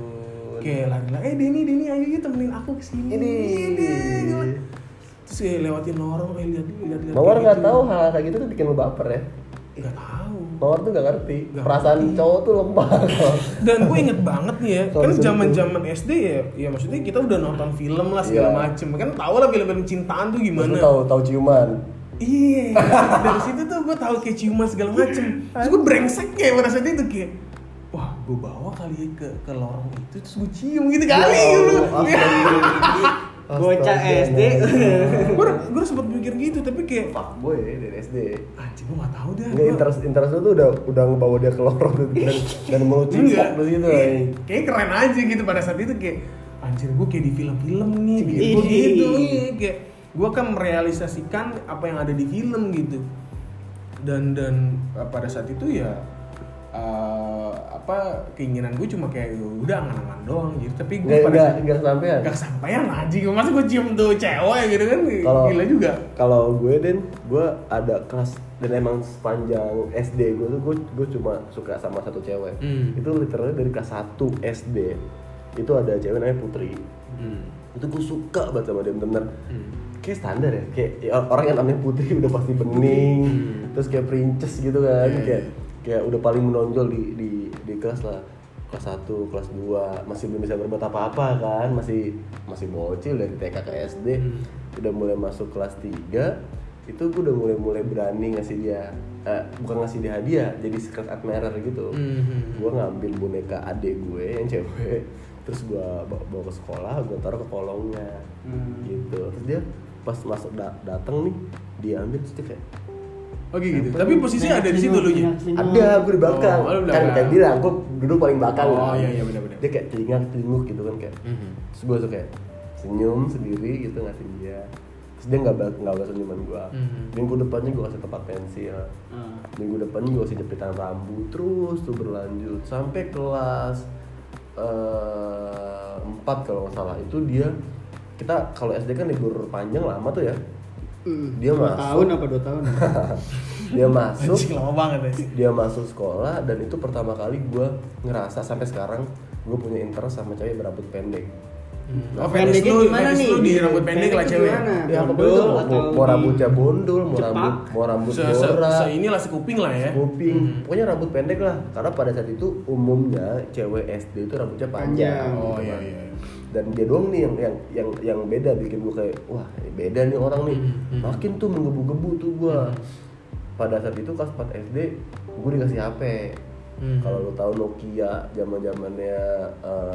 A: kayak lari lari eh Denny Denny ayo yuk temenin aku kesini
C: Ini.
A: gue. gitu. terus kayak lewatin lorong eh lihat lihat lihat
C: Mawar
A: kayak
C: nggak
A: gitu.
C: tahu hal kayak gitu tuh bikin lu baper ya.
A: nggak tahu
C: Mawar tuh nggak ngerti.
A: Nggak
C: Perasaan cowok tuh lemah.
A: dan gue inget banget nih ya
C: Sorry,
A: kan
C: sorry.
A: zaman zaman SD ya ya maksudnya kita udah nonton film lah segala
C: Iya.
A: macem kan tau lah film-film cintaan tuh
C: Terus
A: gimana
C: lu tahu tahu ciuman.
A: Iya, dari situ tuh gue tahu kayak ciuman segala macem. Terus gue brengsek kayak merasa dia tuh kayak, wah gue bawa kali ya ke ke lorong itu terus gue cium gitu kali gitu. Iya.
C: Astaga.
B: Bocah SD.
A: Gue gue sempet mikir gitu tapi kayak
C: Pak boy dari SD.
A: anjing gue gak tahu dah.
C: Nggak
A: gua-
C: interest interest lu tuh udah udah ngebawa dia ke lorong tuh dan dan mau ciuman
A: Enggak.
C: di situ.
A: Iya,
C: anjing.
A: Kayaknya keren aja gitu pada saat itu kayak anjir gue kayak di film-film nih
B: Gitu.
A: gue gitu iya, kayak gue kan merealisasikan apa yang ada di film gitu dan dan eh, pada saat itu ya eh, apa keinginan gue cuma kayak "Ya udah angan-angan doang gitu tapi gue
C: Nggak
A: pada
C: nggak
A: saat
C: nggak kesampaian.
A: gak kesampaian lah anjing masa gue cium tuh cewek gitu kan
C: Kalau-
A: gila juga
C: kalau gue den gue ada kelas dan emang sepanjang SD gue tuh gue, gue cuma suka sama satu cewek
A: Hmm.
C: itu literally dari kelas 1 SD itu ada cewek namanya Putri itu gue suka banget sama dia bener
A: Hmm.
C: kayak standar ya kayak ya, orang yang namanya Putri udah pasti bening terus kayak princess gitu kan
A: Hmm. Iya,
C: kayak kayak udah paling menonjol di di di kelas lah kelas 1, kelas 2 masih belum bisa berbuat apa-apa kan masih masih bocil dari TK ke SD
A: Hmm.
C: udah mulai masuk kelas 3 itu gue udah mulai mulai berani ngasih dia eh, bukan ngasih dia hadiah jadi secret admirer gitu gue ngambil boneka adik gue yang cewek terus gue bawa, bawa ke sekolah gue taruh ke kolongnya
B: Hmm.
C: gitu terus dia pas masuk da- datang nih diambil terus dia kayak
A: oke gitu tapi posisinya ada di situ lu Ji.
C: ada gue di belakang
A: Oh, lu di
C: kan
A: belakang.
C: kayak bilang gue duduk paling belakang
A: Oh,
C: kan.
A: iya, iya, benar-benar.
C: dia kayak telinga telinguk gitu kan kayak
A: Mhm.
C: terus gue tuh kayak senyum sendiri gitu ngasih dia terus dia nggak bal- nggak balas senyuman gue
A: Mhm. Ah.
C: minggu depannya gue kasih tempat pensil
B: Hmm.
C: minggu depannya gue kasih jepitan rambut terus tuh berlanjut sampai kelas eh, empat kalau nggak salah itu dia kita kalau SD kan libur panjang lama tuh ya Dia
B: Hmm. Dua
C: masuk.
B: tahun apa dua tahun
C: dia masuk
A: anjing lama banget ya
C: dia masuk sekolah dan itu pertama kali gue ngerasa sampai sekarang gue punya interest sama cewek berambut pendek
A: Oh, pendek
B: Pendeknya
A: lu,
B: gimana
A: gimana
B: nih?
A: lu di rambut pendek lah
B: Pendeknya
A: cewek.
B: gimana?
C: Ya aku
B: Bondol
C: betul, mau,
B: atau
C: mau
B: di-
C: rambutnya bondol, mau
B: Cepak?
C: rambut, mau rambut
A: Se se,
C: borak,
A: se inilah si kuping lah ya.
C: kuping, pokoknya rambut pendek lah. Karena pada saat itu umumnya cewek SD itu rambutnya
B: Panjang.
C: panjang.
A: Oh
C: gitu
A: iya
C: kan.
A: iya.
C: Dan dia doang nih yang yang yang yang beda bikin gue kayak wah ini beda nih orang nih.
A: Hmm, hmm.
C: Makin tuh menggebu-gebu tuh gue. Pada saat itu kelas 4 SD gue dikasih HP.
A: Hmm.
C: Kalau lo tahu Nokia zaman zamannya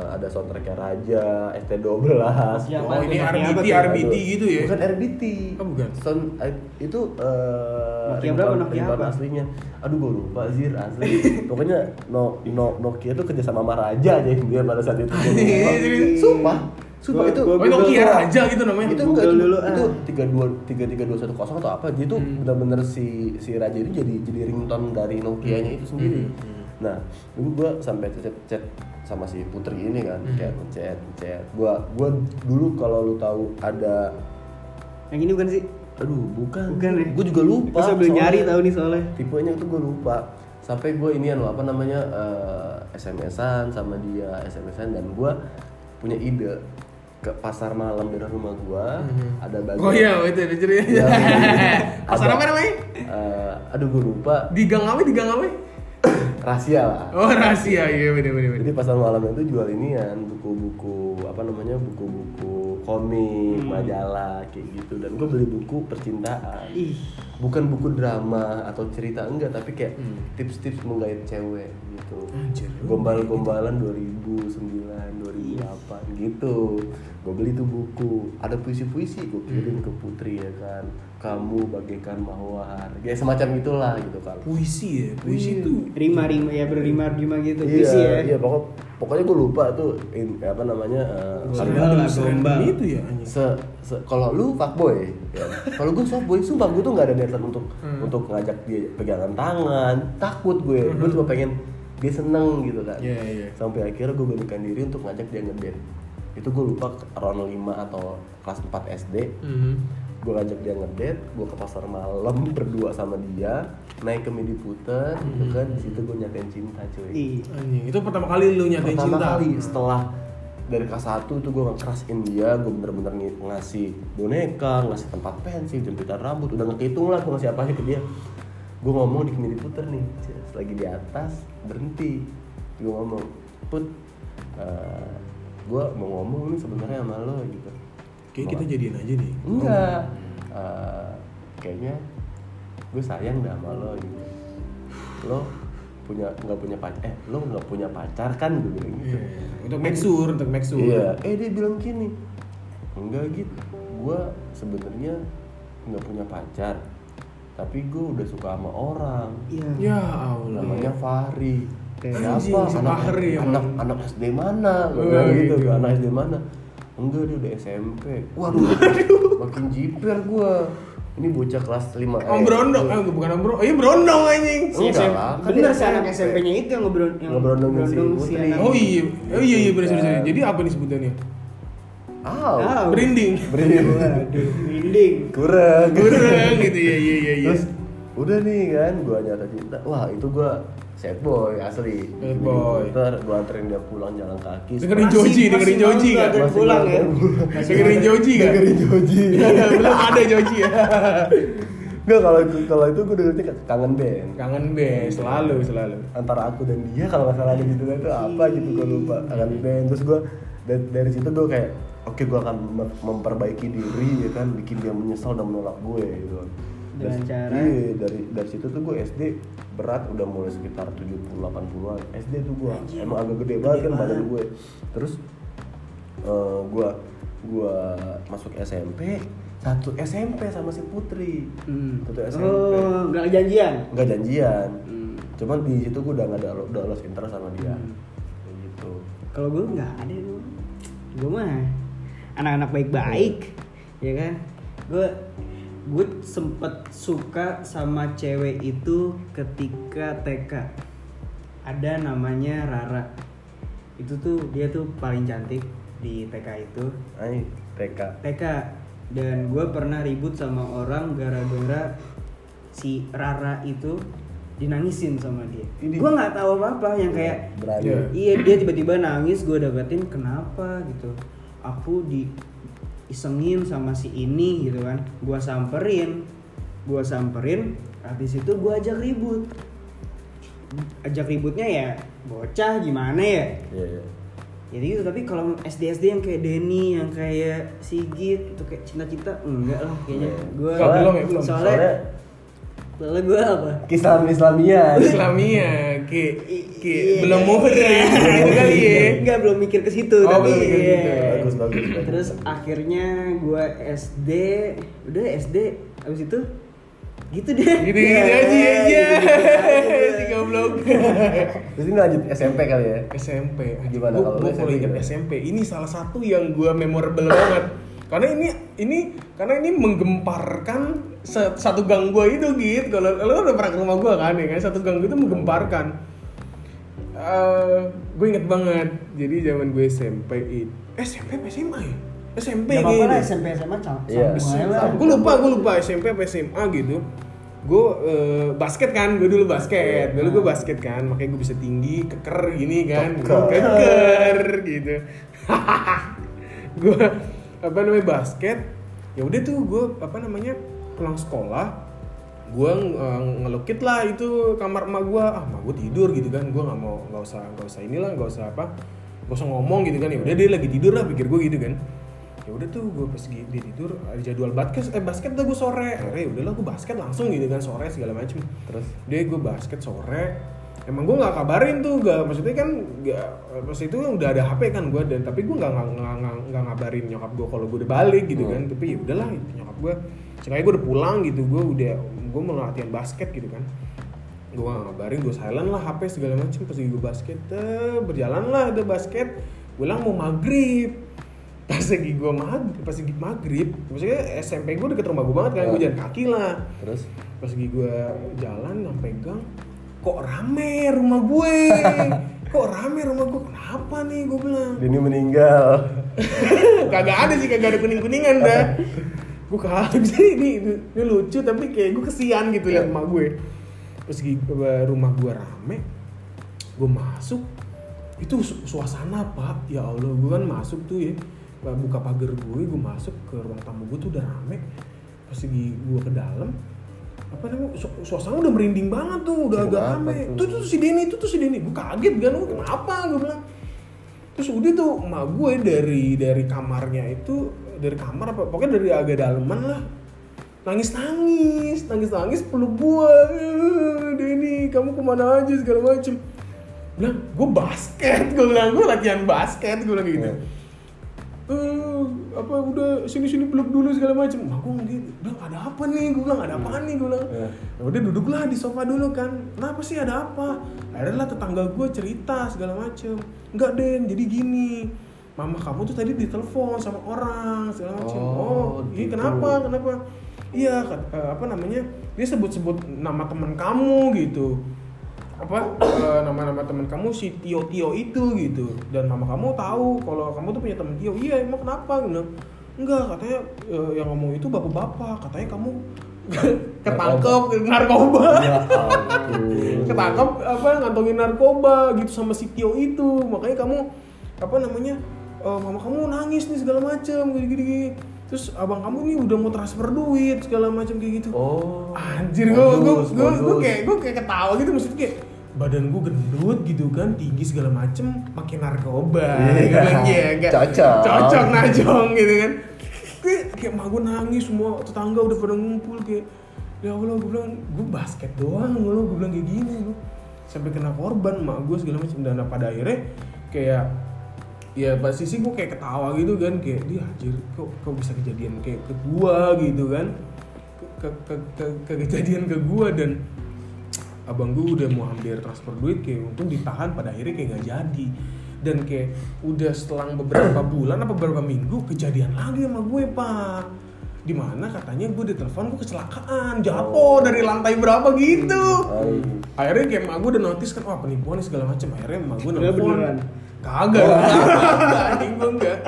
C: ada soundtracknya Raja, ST12.
B: Siapa
A: Oh,
B: tuh?
A: ini
B: Nokia
A: RBT
B: apa tuh?
A: RBT gitu ya.
C: Bukan RBT.
A: Oh, bukan.
C: Sound I- itu eh
B: Nokia berapa,
C: ringtone-
B: Nokia
C: ringtone
B: apa?
C: aslinya. Aduh gue lupa Zir asli. Pokoknya no, no, Nokia itu kerja sama sama Raja aja dia pada saat
B: Iya,
C: itu. Gua lupa.
A: Anjing.
C: Sumpah. Sumpah
B: Gua-
C: itu.
B: gua
A: Oh, ini
B: Google
A: Nokia
B: doang.
A: aja gitu namanya.
C: itu enggak
B: Google
C: cuma-
B: dulu, ah. Hmm.
C: itu tiga dua tiga tiga dua satu kosong atau apa dia tuh benar-benar si si raja itu jadi jadi ringtone dari Nokia nya itu
B: Hmm,
C: sendiri nah dulu gua sampai chat chat sama si putri ini kan
B: Hmm.
C: kayak chat chat gua gua dulu kalau lu tahu ada
B: Yang ini bukan sih?
C: aduh bukan
B: Bukan ya?
C: gua juga lupa
B: Gue sambil
C: soalnya.
B: nyari tahu nih soalnya.
C: tipenya tuh gua lupa sampai gua ini anu apa namanya eh, SMS-an sama dia SMS-an dan gua punya ide ke pasar malam dari rumah gua ada bagian
A: Oh iya, itu ada ceritanya.
C: Iya.
A: Pasar apa namanya?
C: Eh, aduh gue lupa
A: Di gang apa? Di gang apa?
C: rahasia lah
A: Oh, rahasia. Iya, bener bener bener.
C: jadi pasar malam itu jual inian buku-buku apa namanya buku-buku komik
A: Hmm.
C: majalah kayak gitu dan gue beli buku percintaan
B: Ih.
C: bukan buku drama atau cerita enggak tapi kayak tips-tips menggait cewek gitu
A: Hmm. Anjir. Oh, gitu. Iya.
C: gombal-gombalan 2009 2008 gitu gue beli tuh buku ada puisi-puisi gue
A: Hmm.
C: kirim ke putri ya kan kamu bagaikan mawar ya semacam itulah gitu kan
A: Puisi ya. Puisi
C: Iya.
A: itu
B: Rima rima ya berrima rima gitu.
C: Iya,
B: Puisi ya.
C: iya pokok, pokoknya gue lupa tuh in- apa namanya eh,
B: Gombal lah, gombal.
A: Itu ya anjing.
C: se, se- kalau lu fuckboy, ya. kalau gue softboy, sumpah gue tuh nggak ada niatan untuk
A: Hmm.
C: untuk ngajak dia pegangan tangan, takut gue, gue cuma pengen dia seneng gitu kan.
A: Hmm. Iya, iya.
C: Sampai akhirnya gue beranikan diri untuk ngajak dia ngedate. Itu gue lupa round 5 atau kelas 4 SD,
A: Mhm.
C: gue ngajak dia ngedate, gue ke pasar malam berdua sama dia, naik ke Midi Puter, gitu
A: Hmm.
C: kan, di situ gue nyatain cinta cuy
B: Ih.
A: Anjing, itu pertama kali lu nyatain
C: pertama
A: cinta.
C: kali setelah dari kelas 1 tuh gue ngekerasin dia gue bener-bener ng- ngasih boneka ngasih tempat pensil jempitan rambut udah ngehitung lah gue ngasih apanya ke dia gue ngomong di kemiri puter nih Ces, lagi di atas berhenti gue ngomong put gue mau ngomong nih sebenarnya sama lo gitu
A: Kayak kita jadian aja nih.
C: enggak Eh, kayaknya gue sayang dah sama lo gitu lo punya nggak punya pacar eh lo nggak punya pacar kan gue bilang gitu
A: Iya, Untuk make sure, untuk make sure.
C: Iya. Eh dia bilang gini, enggak gitu. Gua sebenarnya nggak punya pacar, tapi gue udah suka sama orang.
B: Iya.
A: Ya Allah.
C: Namanya Fahri.
A: Kayak
C: Kenapa?
A: anjing,
C: Anak,
A: Fahri ya,
C: anak,
A: Bang.
C: anak SD mana? Gue
A: Wah,
C: bilang gitu,
A: gitu.
C: anak SD mana? Enggak dia udah SMP. Waduh, makin jiper gue. Ini bocah kelas 5
A: Om Brondong, eh bukan Om Brondong, iya Brondong anjing.
B: Si
C: Enggak
B: SMP
C: lah, kan
B: Bener
C: dia
B: si anak
C: SMP.
B: SMP-nya itu yang ngobrol yang
C: Ngebrondongin si Putri.
B: anak-
A: Oh iya, oh iya iya benar
C: Iya.
A: benar. Jadi apa nih sebutannya?
B: Au.
C: Ah,
A: Berinding.
B: Waduh, merinding.
C: kurang.
A: Kurang gitu ya iya iya iya.
C: Terus udah nih kan gua nyata cinta. Wah, itu gua sad boy asli.
A: Sad boy.
C: Ntar gua anterin dia pulang jalan kaki.
A: Dengerin
B: Masih-
A: Joji, dengerin
B: masih
A: Joji
B: mau
A: enggak?
B: gua
C: Masih
B: pulang
C: mau
B: ya.
C: gua
A: Dengerin Joji enggak?
C: Dengerin Joji.
A: Belum ada Joji ya.
C: Enggak kalau itu kalau itu gua dengerin kangen band.
A: Kangen be, selalu selalu.
C: Antara aku dan dia kalau nggak salah ada gitu itu apa gitu gua lupa. Kangen band. Terus gua dari, dari situ gua kayak oke gua akan mem- memperbaiki diri ya kan bikin dia menyesal dan menolak gue gitu. kan.
B: Dengan
C: Dari-
B: cara-
C: iya, dari dari situ tuh gue SD berat udah mulai sekitar 70 80-an. SD tuh gue emang agak gede banget kan badan gue. Terus eh, gue gue masuk SMP satu SMP sama si Putri.
B: Hmm.
C: Satu SMP.
B: Oh, enggak janjian.
C: Nggak janjian. Cuman di situ gue udah nggak ada udah lost interest sama dia.
B: Hmm.
C: Kayak gitu.
B: Kalau gue nggak ada dulu. Gue mah anak-anak baik-baik, ya kan? Gue gue sempet suka sama cewek itu ketika TK. Ada namanya Rara. Itu tuh dia tuh paling cantik di TK itu.
C: Ay, TK.
B: TK dan gue pernah ribut sama orang gara-gara si Rara itu dinangisin sama dia.
C: Ini.
B: Gue nggak tahu apa-apa yang kayak
C: Berani.
A: Iya.
B: Iya dia tiba-tiba nangis gue dapetin kenapa gitu aku di isengin sama si ini gitu kan gua samperin gua samperin habis itu gua ajak ribut ajak ributnya ya bocah gimana ya
C: Iya, iya.
B: jadi gitu tapi kalau SD SD yang kayak Denny yang kayak Sigit itu kayak cinta-cinta enggak lah kayaknya
C: Iya.
B: gua
A: Kalau belum ya, belum.
B: soalnya
C: Soalnya
B: soalnya gua apa
C: Islam Islamia.
A: Islamia, ki, ki
B: Iya.
A: belum muhrim gitu kali ya.
B: Enggak belum mikir ke situ
A: Oh,
B: tapi
A: belum mikir ke
B: iya.
A: situ.
C: Bagus, bagus, bagus.
B: Terus akhirnya gua SD, udah SD abis itu gitu deh.
A: Gitu gitu aja
B: Iya,
A: ya.
B: gitu-gitu aja.
A: Si goblok.
C: Terus ini lanjut SMP kali ya.
A: SMP.
C: Gimana
A: Gua-
C: kalau
A: gua
C: SMP
A: kalau ingat
C: gimana?
A: SMP ini salah satu yang gua memorable banget. Karena ini ini karena ini menggemparkan se- satu gang gua itu gitu. Kalau lo udah pernah ke rumah gua kan ya kan satu gang gua itu menggemparkan. Eh, gue inget banget. Jadi zaman gue SMP itu SMP apa SMA ya? SMP
B: Gak apa-apa lah
A: kayaknya.
B: SMP SMA sama
C: Iya.
B: lah.
C: Sambung.
A: gue lupa gue lupa SMP apa SMA gitu gue eh, basket kan gue dulu basket dulu gue basket kan makanya gue bisa tinggi keker gini kan Gua
C: Keker.
A: keker gitu gue apa namanya basket ya udah tuh gue apa namanya pulang sekolah gue ngelukit lah itu kamar emak gue ah emak gue tidur gitu kan gue nggak mau nggak usah nggak usah inilah nggak usah apa nggak usah ngomong gitu kan ya udah dia lagi tidur lah pikir gue gitu kan ya udah tuh gue pas gi- dia tidur ada jadwal basket eh basket dah gue sore akhirnya ya udahlah gue basket langsung gitu kan sore segala macem terus dia gue basket sore emang gue nggak kabarin tuh gak maksudnya kan gak pas itu kan udah ada hp kan gue dan tapi gue nggak nggak- nggak nggak- nggak ngabarin nyokap gue kalau gue udah balik gitu
C: Hmm.
A: kan tapi ya udahlah nyokap gue sekarang gue udah pulang gitu gue udah gue mau latihan basket gitu kan gue gak ngabarin gue silent lah hp segala macem pas gue basket eh, berjalan lah ada basket gue bilang mau maghrib pas lagi gue maghrib pas lagi maghrib maksudnya SMP gue deket rumah gue banget kan gue
C: Ya.
A: jalan kaki lah
C: Terus
A: pas lagi gue jalan sampai gang kok rame rumah gue kok rame rumah gue kenapa nih gue bilang
C: Dini meninggal.
A: kagak ada sih kagak ada kuning kuningan dah gue kaget sih ini, ini lucu tapi kayak gue kesian gitu liat emak gue terus gi- rumah gue rame gue masuk itu su- suasana pak ya allah gue kan masuk tuh ya buka pagar gue gue masuk ke ruang tamu gue tuh udah rame pas lagi gue ke dalam apa namanya su- suasana udah merinding banget tuh udah agak
C: Kenapa
A: rame
C: tuh?
A: tuh tuh si Denny itu tuh si Denny gue kaget kan gue kenapa gue bilang terus udah tuh emak gue dari dari kamarnya itu dari kamar apa pokoknya dari agak daleman lah nangis nangis nangis nangis peluk gue "Eh, Denny kamu kemana aja segala macem bilang gue basket gue bilang gue latihan basket gue bilang gitu
C: Iya.
A: eh apa udah sini sini peluk dulu segala macem mak gue gitu bilang ada apa nih gue bilang ada apaan nih gue bilang
C: Iya.
A: Ya udah duduklah di sofa dulu kan. Kenapa sih ada apa? Akhirnya lah tetangga gue cerita segala macem. Enggak Den, jadi gini. Mama kamu tuh tadi ditelepon sama orang segala macem.
C: Oh,
A: Oh, iya
C: gitu.
A: kenapa? Kenapa? Iya, kat- eh, apa namanya? Dia sebut-sebut nama teman kamu gitu. Apa eh, nama-nama teman kamu si Tio Tio itu gitu. Dan mama kamu tahu kalau kamu tuh punya teman Tio. Iya, emang kenapa? Gitu. Enggak, katanya eh, yang ngomong itu bapak-bapak. Katanya kamu ketangkep narkoba
C: Ya ampun.
A: ketangkep apa ngantongin narkoba gitu sama si Tio itu makanya kamu apa namanya eh, mama kamu nangis nih segala macem gini gini gini. terus abang kamu nih udah mau transfer duit segala macem kayak gitu
C: Oh.
A: anjir gue gue
C: Modus,
A: gue gue
C: modus.
A: kayak gue kayak ketawa gitu maksudnya kayak badan gue gendut gitu kan tinggi segala macem pakai narkoba
C: Iya.
A: gitu kan. Iya, enggak-
C: Cocok.
A: cocok najong gitu kan kayak kayak emak gue nangis semua tetangga udah pada ngumpul kayak ya allah gue bilang gue basket doang lo gue bilang kayak gini gue sampai kena korban emak gue segala macem dan pada akhirnya kayak ya pas sisi gue kayak ketawa gitu kan kayak dia anjir kok kok bisa kejadian kayak ke gua gitu kan ke ke ke, ke kejadian ke gua dan abang gue udah mau hampir transfer duit kayak untung ditahan pada akhirnya kayak nggak jadi dan kayak udah setelah beberapa bulan apa beberapa minggu kejadian lagi sama gue pak dimana katanya gue ditelepon gue kecelakaan jatuh dari lantai berapa gitu
C: Ay.
A: akhirnya kayak emak gue udah notice kan wah penipuan nih segala macam akhirnya emak gue
B: Udah
A: nelfon
B: beneran?
A: kagak kagak anjing gue enggak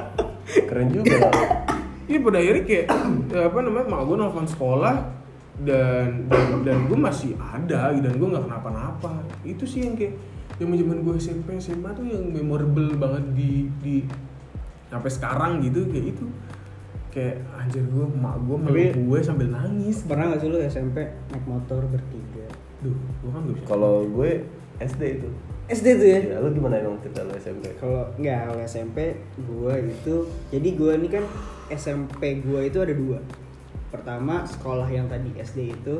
C: Keren juga.
A: Iya pada akhirnya kayak eh, apa namanya mak gue nelfon sekolah dan dan, dan gue masih ada gitu, dan gue nggak kenapa-napa itu sih yang kayak zaman zaman gue SMP SMA tuh yang memorable banget di di sampai sekarang gitu kayak itu kayak anjir gue emak gue
B: Tapi-
A: meluk gue sambil nangis
B: Pernah gak sih lu SMP naik motor bertiga?
A: duh gue kan gak bisa
C: Kalau gue SD itu.
B: SD tuh ya?
C: Ya, lu gimana emang cerita lu SMP?
B: Kalau nggak kalau SMP gua itu jadi gua ini kan SMP gua itu ada dua. Pertama sekolah yang tadi SD itu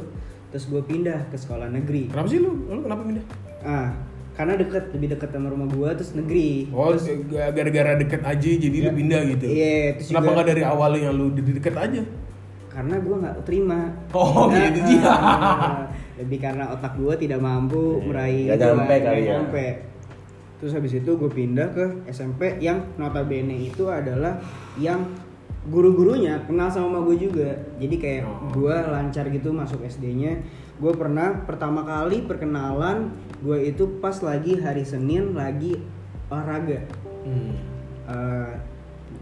B: terus gua pindah ke sekolah negeri.
A: kenapa sih lu lu kenapa pindah
B: Ah, karena deket lebih deket sama rumah gua terus negeri.
A: oh gara-gara deket aja jadi lu
B: Ya.
A: pindah gitu
B: Iya, terus
A: kenapa
B: juga-
A: nggak dari awal lu yang lu di- di- deket aja
B: Karena gua nggak terima.
A: Oh, gitu
B: Ah,
A: sih.
B: ah. lebih karena otak gua tidak mampu
C: Iya,
B: meraih
C: nggak
B: itulah,
C: nyampe kali
B: nggak
C: ya.
B: nyampe. Terus habis itu gue pindah ke SMP yang notabene itu adalah yang guru-gurunya kenal sama gue juga. Jadi kayak
A: Oh.
B: gue lancar gitu masuk SD-nya. Gue pernah pertama kali perkenalan gue itu pas lagi hari Senin lagi olahraga.
A: hmm.
B: Eh,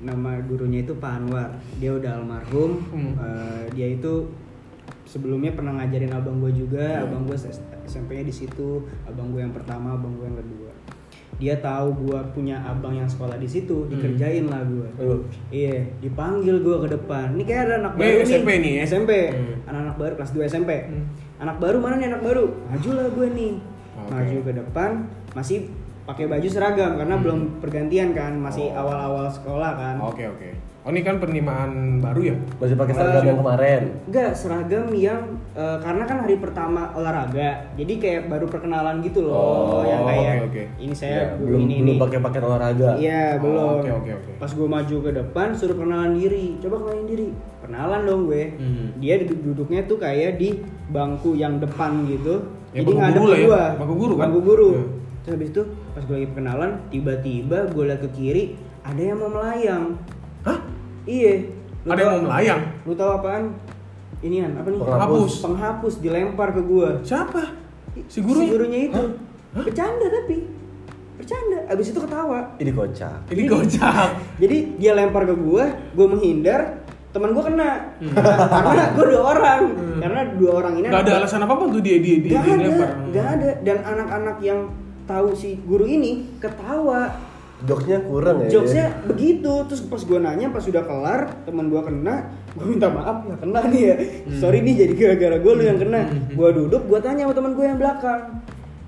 B: nama gurunya itu Pak Anwar. Dia udah almarhum.
A: Hmm.
B: Eh, dia itu sebelumnya pernah ngajarin abang gue
A: Iya.
B: juga. Abang gue SMP-nya di situ. Abang gue yang pertama, abang gue yang kedua. Dia tahu gue punya abang yang sekolah di
A: Hmm.
B: situ, dikerjain lah gue.
C: Lu
B: Iya, dipanggil gue ke depan. Ini kayak ada anak
A: Oh. Ini
B: baru
A: SMP
B: nih.
A: nih ya?
B: SMP.
A: Hmm.
B: Anak-anak baru kelas 2 SMP.
A: Hmm.
B: Anak baru mana nih anak baru? Maju lah gue nih.
A: Oke.
B: Maju ke depan, masih pakai baju seragam karena belum pergantian kan, masih
A: Hmm. Oh.
B: awal-awal sekolah kan.
A: oke oke oh ini kan penerimaan baru ya
C: masih pakai seragam yang kemarin.
B: Enggak, seragam yang eh, karena kan hari pertama olahraga. Jadi kayak baru perkenalan gitu loh
C: Oh,
B: yang kayak
A: oke, Iya, oke.
B: ini
C: Ya,
B: saya guru
C: belum
B: ini
C: belum
B: ini.
C: pakai pakai olahraga.
B: Iya,
A: Oh,
B: belum.
A: oke, oke, oke.
B: Pas gue maju ke depan suruh kenalan diri. Coba kenalin diri. Kenalan dong gue.
A: Hmm.
B: Dia duduk- duduknya tuh kayak di bangku yang depan gitu.
A: Ya,
B: Jadi
A: bangku
B: ngadep
A: guru
B: ke
A: lah ya.
B: gua.
A: Bangku guru kan?
B: Bangku guru.
A: Ya.
B: Terus habis itu pas gue lagi perkenalan, tiba-tiba gue liat ke kiri ada yang mau melayang.
A: hah
B: Iya.
A: ada
B: Lu tau-
A: yang mau melayang
B: Lu tahu apaan? Inian, apa nih?
A: Penghapus.
B: Penghapus dilempar ke gua.
A: siapa si gurunya
B: Si gurunya itu.
A: Hah? Hah?
B: Bercanda tapi. Bercanda. Abis itu ketawa.
C: Ini kocak.
A: ini gocap
B: Jadi dia lempar ke gua, gua menghindar, teman gua kena. karena gua dua orang. Karena dua orang ini
A: Gak ada alasan apa-apa untuk dia dia dia
B: Gak
A: dia
B: ada,
A: dilempar.
B: gak ada. Dan anak-anak yang tahu si guru ini ketawa.
C: Jokesnya kurang ya.
B: Jokesnya begitu. Terus pas gua nanya pas sudah kelar, teman gua kena, gua minta maaf ya kena nih ya.
C: Hmm.
B: Sorry nih jadi gara-gara gua lu yang kena. Gua duduk, gua tanya sama teman gua yang belakang.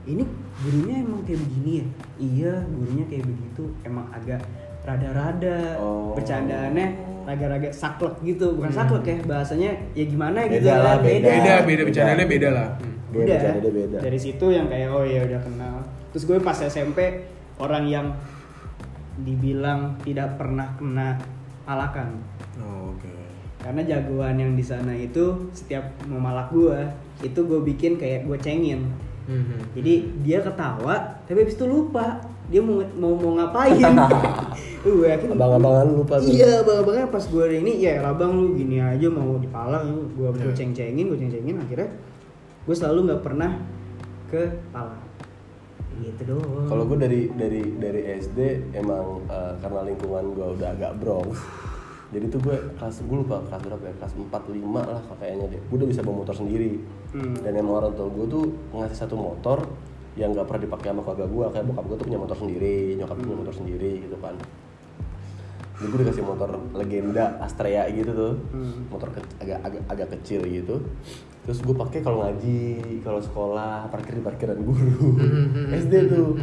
B: Ini gurunya emang kayak begini ya? Iya, gurunya kayak begitu. Emang agak rada-rada
C: Oh. Hmm.
B: bercandaannya raga-raga saklek gitu bukan saklek ya bahasanya ya gimana
C: Beda
B: gitu ya,
C: lah,
A: Beda, beda,
C: Beda.
A: bercandanya beda lah.
C: Dia
B: Udah.
C: bercanda, dia beda.
B: ya? dari situ yang kayak oh ya udah kenal terus gue pas SMP orang yang dibilang tidak pernah kena palakan
A: Oh, Oke.
B: karena jagoan yang di sana itu setiap mau malak gue itu gue bikin kayak gue cengin
A: Mhm.
B: jadi
C: Hmm.
B: dia ketawa tapi habis itu lupa dia mau mau, mau ngapain gue yakin
C: Abang-abangan lupa tuh.
B: iya abang-abangnya pas gue ini ya abang lu gini aja mau dipalang gue
C: Iya.
B: gue ceng-cengin gue ceng-cengin akhirnya gue selalu nggak pernah ke palang gitu doang
C: Kalau gue dari dari dari SD emang eh, karena lingkungan gue udah agak brong. Jadi tuh gue kelas gue lupa kelas berapa ya kelas 4 5 lah kayaknya deh. Gue udah bisa bawa motor sendiri.
B: Hmm.
C: Dan emang orang tua gue tuh ngasih satu motor yang gak pernah dipakai sama keluarga gue kayak bokap gue tuh punya motor sendiri, nyokap gue punya motor sendiri gitu kan. Jadi gue dikasih motor legenda Astrea gitu tuh,
B: Hmm.
C: motor ke- agak, agak agak kecil gitu. Terus gue pakai kalau ngaji, kalau sekolah, parkir di parkiran guru. SD tuh.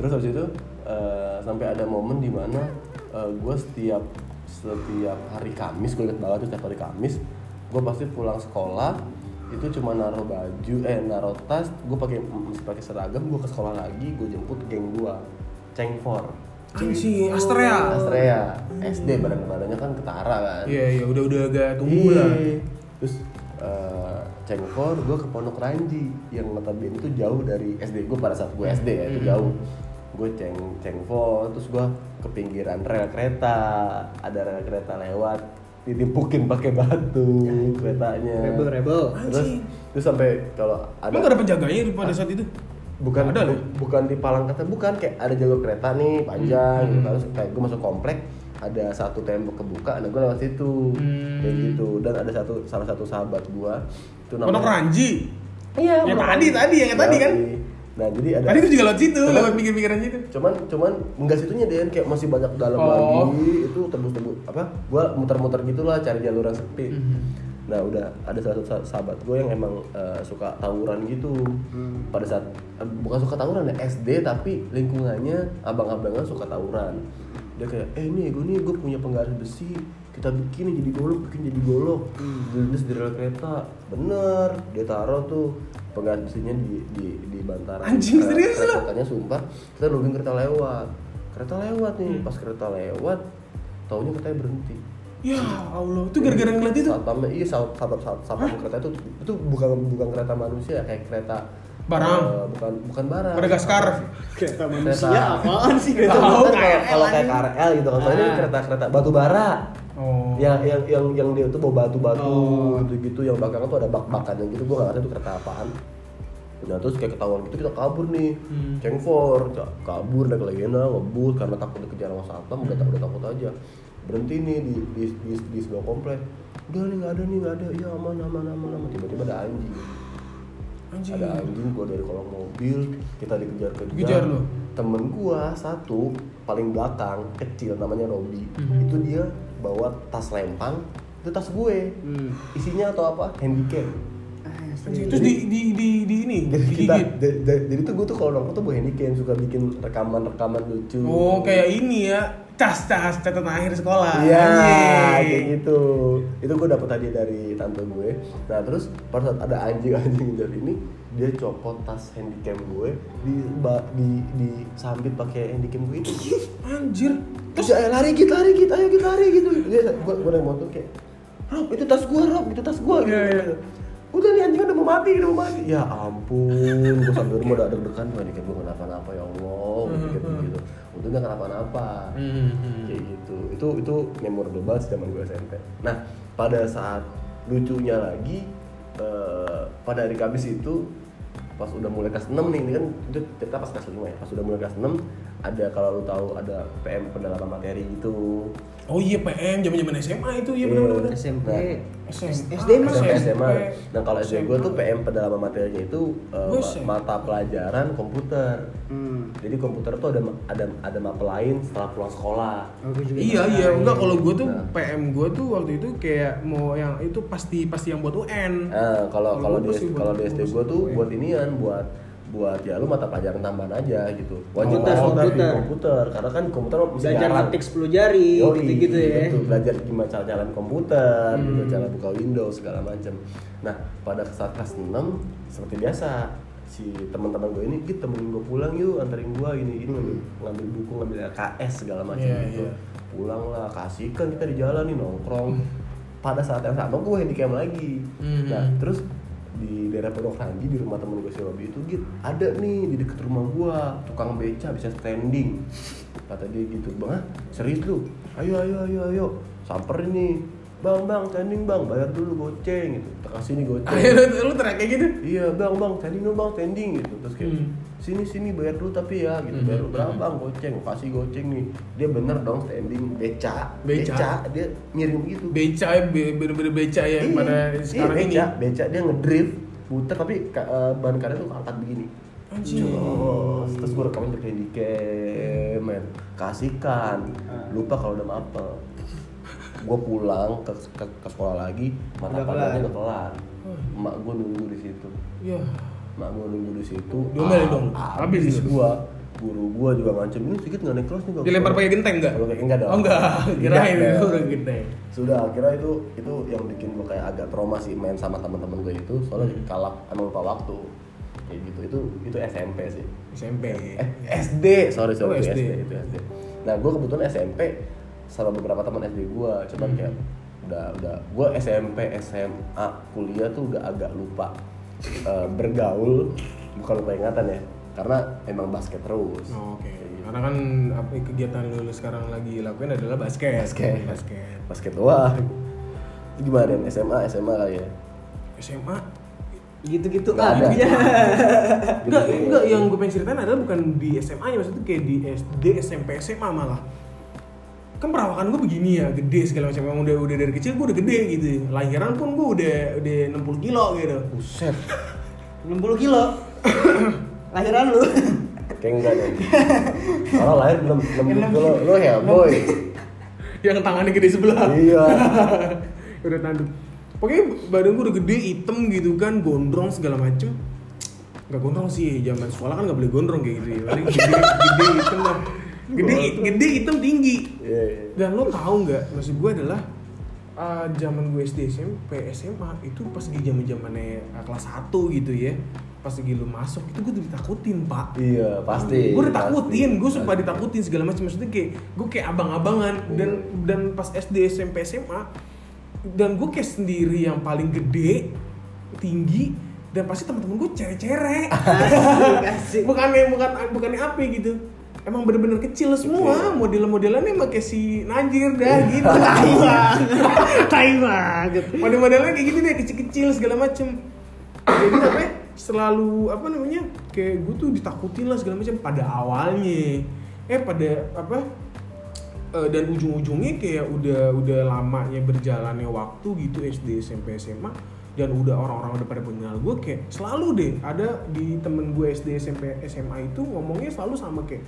C: Terus habis itu eh, sampai ada momen dimana gue setiap setiap hari Kamis gue inget banget tuh setiap hari Kamis gue pasti pulang sekolah itu cuma naruh baju eh naruh tas gue pakai masih pakai seragam gue ke sekolah lagi gue jemput geng gue cengfor
A: Anjing, Kan Astrea.
C: Astrea SD badan badannya kan ketara kan
A: Iya, iya, udah udah agak tumbuh lah.
C: Iya. Terus eh, Cengkor gue ke Pondok Ranji yang notabene itu jauh dari SD gue pada saat gue SD ya
A: Hmm.
C: itu jauh. Gue ceng cengfor terus gue ke pinggiran rel kereta ada rel kereta lewat ditimpukin pakai batu
A: Iya.
C: keretanya.
B: rebel rebel
C: Terus terus sampai kalau
A: Emang gak ada
C: ada
A: penjaganya pada saat itu?
C: bukan
A: Ada loh.
C: bu- bukan di palang kereta bukan kayak ada jalur kereta nih
A: Hmm.
C: panjang gitu. terus kayak gue masuk komplek ada satu tembok kebuka nah gue lewat situ
A: Hmm.
C: kayak gitu dan ada satu salah satu sahabat gue itu
A: Pondok Ranji.
C: iya
A: Yang
C: Pondok
A: tadi,
C: Ranji.
B: Iya,
A: tadi, yang tadi kan?
C: Yoi. Nah, jadi ada
A: Tadi gue juga lewat situ,
C: Coba.
A: lewat mikir-mikiran situ.
C: cuman cuman enggak situnya Den kayak masih banyak dalam
A: Oh.
C: lagi itu tembus-tembus apa gua muter-muter gitulah cari jalur yang sepi nah udah ada salah satu sa- sahabat gue yang emang eh, suka tawuran gitu pada saat eh, bukan suka tawuran ya SD tapi lingkungannya abang-abangnya suka tawuran dia kayak eh nih gue nih gue punya penggaris besi kita bikin jadi golok bikin jadi golok jenis di rel kereta bener dia taruh tuh penggaris besinya di di di bantaran
A: Anjing,
C: kereta-
A: serius lu?
C: katanya sumpah kita nungguin kereta lewat kereta lewat
A: Hmm.
C: nih pas kereta lewat taunya katanya berhenti
A: Ya Allah, itu gara-gara ngeliat itu.
C: satpamnya iya sat- satpam sat- satpam kereta itu itu bukan bukan kereta manusia kayak kereta
A: Barang.
C: eh, bukan bukan barang
A: Madagaskar.
B: Kereta
C: Kereta.
B: manusia apaan sih Hmm.
C: Itu
B: kereta
A: Tahu,
C: bukan kalau
A: KRL,
C: kalau kayak
A: anjing.
C: KRL gitu kan soalnya ini
A: Ah.
C: kereta kereta batu bara
A: Oh.
C: yang yang yang yang dia tuh bawa batu-batu
B: Oh.
C: gitu gitu yang belakangnya tuh ada bak-bakannya gitu gua nggak ngerti itu kereta apaan Nah terus kayak ketahuan gitu kita kabur nih
A: Hmm.
C: Cengfor, ca- kabur naik legenda, ngebut karena takut dikejar sama satpam udah,
A: Hmm.
C: udah takut aja Berhenti nih di, di, di, di sebuah komplek Udah nih nggak ada nih nggak ada, ya aman aman aman aman Tiba-tiba ada anjing
A: Anjing.
C: Ada anjing gua dari kolong mobil, kita dikejar-kejar
A: Dikejar lu?
C: Temen gua satu, paling belakang, kecil namanya Robby
A: Hmm.
C: Itu dia bawa tas lempang, itu tas gue
B: Hmm.
C: Isinya atau apa? Handicap
B: Ah,
A: Anjing, Terus di di di di ini
C: jadi kita
A: digigit.
C: da- da- jadi tuh gue tuh kalau nongkrong tuh gue handicap yang suka bikin rekaman-rekaman lucu
A: Oh, kayak ini ya. Tas-tas catatan akhir sekolah.
C: Iya,
A: Anjing.
C: kayak gitu. Itu gue dapet hadiah dari tante gue. Nah terus pada saat ada anjing-anjing dari ini, dia copot tas handycam gue di ba- di di sambit pakai handycam gue itu.
A: Anjir.
C: Terus ayo lari git lari git ayo git lari gitu. Dia gue gue naik motor kayak Rob itu tas gue Rob itu tas gue gitu.
A: Iya, iya.
C: Udah nih anjing udah mau mati udah mau mati. Ya ampun gue sampai rumah udah deg-degan gue dikit gue kenapa-napa ya Allah.
A: Hmm,
C: Gue pikir begitu. Untungnya kenapa-napa kayak gitu itu itu memorable banget sih zaman gue SMP nah pada saat lucunya lagi eh, pada hari Kamis itu pas udah mulai kelas 6 nih ini kan itu cerita pas kelas 5 ya pas udah mulai kelas 6 ada kalau lu tahu ada PM pendalaman materi gitu
A: Oh iya PM zaman-zaman SMA itu iya benar-benar.
C: Iya.
B: SMP
A: SMA.
B: SD mah
A: SMP.
C: SMA. SMA. Nah kalau SD gue tuh PM pendalaman materinya itu eh,
A: Gua
C: ma-
A: SMP.
C: mata pelajaran komputer.
B: Hmm.
C: Jadi komputer tuh ada ada ada mapel lain setelah pulang sekolah.
B: Oh, gua juga
A: Iya iya enggak kalau gue tuh
C: Nah.
A: PM gue tuh waktu itu kayak mau yang itu pasti pasti yang buat UN.
C: Nah, kalau
A: Kalau
C: kalau
A: gua
C: di
A: sih buat
C: kalau di SD
A: ngurus
C: gua tuh
A: UN.
C: buat inian buat buat ya lu mata pelajaran tambahan aja gitu. Wajib
B: Komputer,
C: komputer,
B: komputer.
C: komputer karena kan komputer mesti
B: belajar
C: jarang.
B: ngetik 10 jari
C: Yoi,
B: gitu-gitu ya.
C: betul. belajar gimana cara jalan komputer, gimana cara buka Windows segala macam. Nah, pada saat kelas 6 seperti biasa si teman-teman gue ini gitu temenin gue pulang yuk anterin gue ini ini ngambil, ngambil buku ngambil LKS segala macam
A: Iya,
C: gitu
A: iya.
C: pulang lah kasihkan kita di jalan nih nongkrong pada saat yang sama gue handicap lagi
A: Hmm.
C: nah terus di daerah Pondok Ranji di rumah temen gue si Robi itu gitu ada nih di deket rumah gua tukang beca bisa standing kata dia gitu bang ah, serius lu ayo ayo ayo ayo samperin nih bang bang standing bang bayar dulu goceng gitu kita kasih nih goceng
A: Akhirnya lu, lu teriak kayak gitu.
C: iya bang bang standing dong bang standing gitu terus kayak
A: Hmm.
C: sini sini bayar dulu tapi ya gitu
A: Hmm.
C: bayar dulu berapa bang goceng Gua kasih goceng nih dia bener dong standing beca
A: Beca.
C: dia gitu. miring begitu
A: Beca ya be- bener-bener beca ya yang pada sekarang
C: iya,
A: ini.
C: beca, beca dia ngedrift puter tapi ka- eh, ban karetnya tuh angkat begini
A: Anjing.
C: Jos, terus gue rekamin pakai handicap men kasihkan
B: Ah.
C: lupa kalau udah apa gue pulang ke, ke, ke sekolah lagi mata
B: Udah kelar.
C: pelajarannya udah kelar emak gue nunggu di situ
A: Ya.
C: emak gue nunggu di situ
A: Diomelin
C: Ah,
A: dong. Habis
C: habis
A: lu.
C: gue guru gue juga ngancam ini sedikit nggak naik kelas nih nggak
A: Dilempar
C: kelas."
A: pakai genteng enggak?
C: Kalau kayak enggak dong. Iya,
A: Oh enggak, kirain
C: Enggak
A: itu
C: dong.
A: orang genteng.
C: sudah akhirnya itu itu yang bikin gue kayak agak trauma sih main sama teman-teman gue itu soalnya
A: Hmm.
C: kalap emang lupa waktu kayak gitu itu itu SMP sih
A: SMP.
C: eh, SD sorry
A: Oh,
C: sorry itu
A: SD.
C: SD. itu SD nah gue kebetulan SMP sama beberapa teman SD gue cuman
A: Hmm.
C: kayak udah udah gue SMP SMA kuliah tuh udah agak lupa eh, bergaul bukan lupa ingatan ya karena emang basket terus
A: Oh, Oke.
C: Kayak gitu.
A: Karena kan apa kegiatan lu sekarang lagi lakuin adalah basket.
C: Basket.
A: Basket.
C: basket doang Itu gimana Dan? SMA SMA kali ya
A: SMA
B: Gitu-gitu
C: Nggak ada. Gitu.
B: aja.
A: Eh, Enggak, enggak Iya. yang gue pengen ceritain adalah bukan di SMA nya maksudnya kayak di SD, SMP, SMA malah. Kan perawakan gue begini ya, gede segala macam. Emang udah udah dari kecil gue udah gede gitu. Lahiran pun gue udah udah 60 kilo gitu.
C: Buset.
B: 60 kilo. lahiran lu
C: Kayak enggak dong. Orang lahir belum belum gitu lo, lo ya boy.
A: yang tangannya gede sebelah
C: Iya.
A: udah tanduk pokoknya badan gue udah gede hitam gitu kan gondrong segala macem nggak gondrong sih zaman sekolah kan nggak boleh gondrong kayak gitu ya paling gede gede hitam lah gede gede hitam tinggi
C: Iya. iya.
A: dan lo tahu nggak maksud gue adalah uh, zaman gue SD SMP SMA itu pas di zaman zamannya kelas 1 gitu ya pas lagi lo masuk itu gue udah ditakutin pak
C: Iya, pasti.
A: gue ditakutin
C: pasti,
A: gue suka
C: pasti. Iya.
A: ditakutin segala macam maksudnya kayak gue kayak abang-abangan dan dan pas SD SMP SMA dan gue kayak sendiri yang paling gede tinggi dan pasti teman-teman gue cere-cere
B: kasih
A: bukannya bukan bukannya apa gitu emang bener-bener kecil semua model-modelannya emang kayak si Najir dah gitu
B: tai banget
A: model-modelnya kayak gitu deh kecil-kecil segala macem jadi apa ya, selalu apa namanya kayak gue tuh ditakutin lah segala macam pada awalnya eh pada apa eh, dan ujung-ujungnya kayak udah udah lamanya berjalannya waktu gitu SD SMP SMA dan udah orang-orang udah pada mengenal gue kayak selalu deh ada di temen gue SD SMP SMA itu ngomongnya selalu sama kayak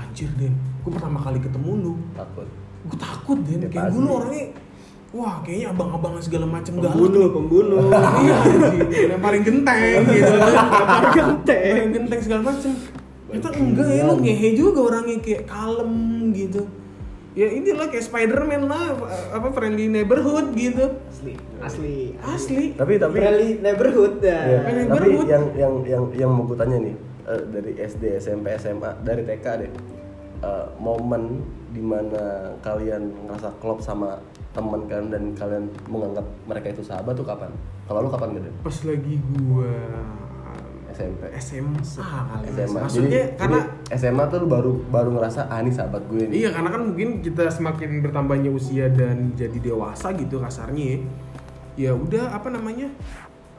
A: anjir Den gue pertama kali ketemu lu
C: takut.
A: gue takut Den
C: Ya,
A: kayak gue lu
C: pasti.
A: orangnya wah kayaknya abang-abang segala macam
B: pembunuh pembunuh
A: iya anjing. yang paling genteng gitu Yang
B: Genteng.
A: paling genteng segala macem kita enggak ya lo ngehe juga orangnya kayak kalem gitu ya inilah kayak Spiderman lah apa friendly neighborhood gitu
B: asli asli
A: asli
C: Tapi tapi
B: Friendly neighborhood
C: Iya,
B: ya.
A: Kan yang
C: tapi
A: berebut.
C: yang yang yang yang mau gue tanya nih eh, dari SD, SMP, SMA, dari TK deh. Eh, momen dimana kalian ngerasa klop sama teman kalian dan kalian menganggap mereka itu sahabat tuh kapan? Kalau lu kapan gede?
A: pas lagi gua eh,
C: SMP.
A: SMA kali Mas.
C: SMA.
A: maksudnya
C: Jadi-
A: karena
C: jadi SMA tuh lu baru baru ngerasa ah ini sahabat gue nih.
A: Iya karena kan mungkin kita semakin bertambahnya usia dan jadi dewasa gitu kasarnya ya. Ya udah apa namanya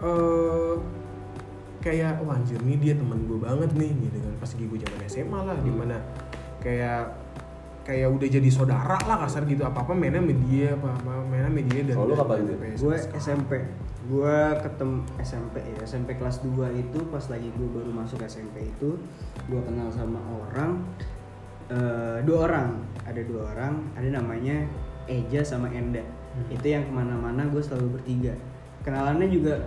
A: eh kayak wah anjir nih dia teman gue banget nih gitu kan pas lagi gue zaman SMA lah dimana kayak kayak udah jadi saudara lah kasar gitu apa apa mainnya media apa apa mainnya media dan
C: Kalau lu kapan gitu?
A: PS.
B: Gue SMP. Gue ketemu SMP ya, SMP kelas 2 itu pas lagi gue baru masuk SMP itu gue kenal sama orang eh, dua orang, ada dua orang, ada namanya Eja sama Enda. Itu yang kemana-mana gue selalu bertiga. Kenalannya juga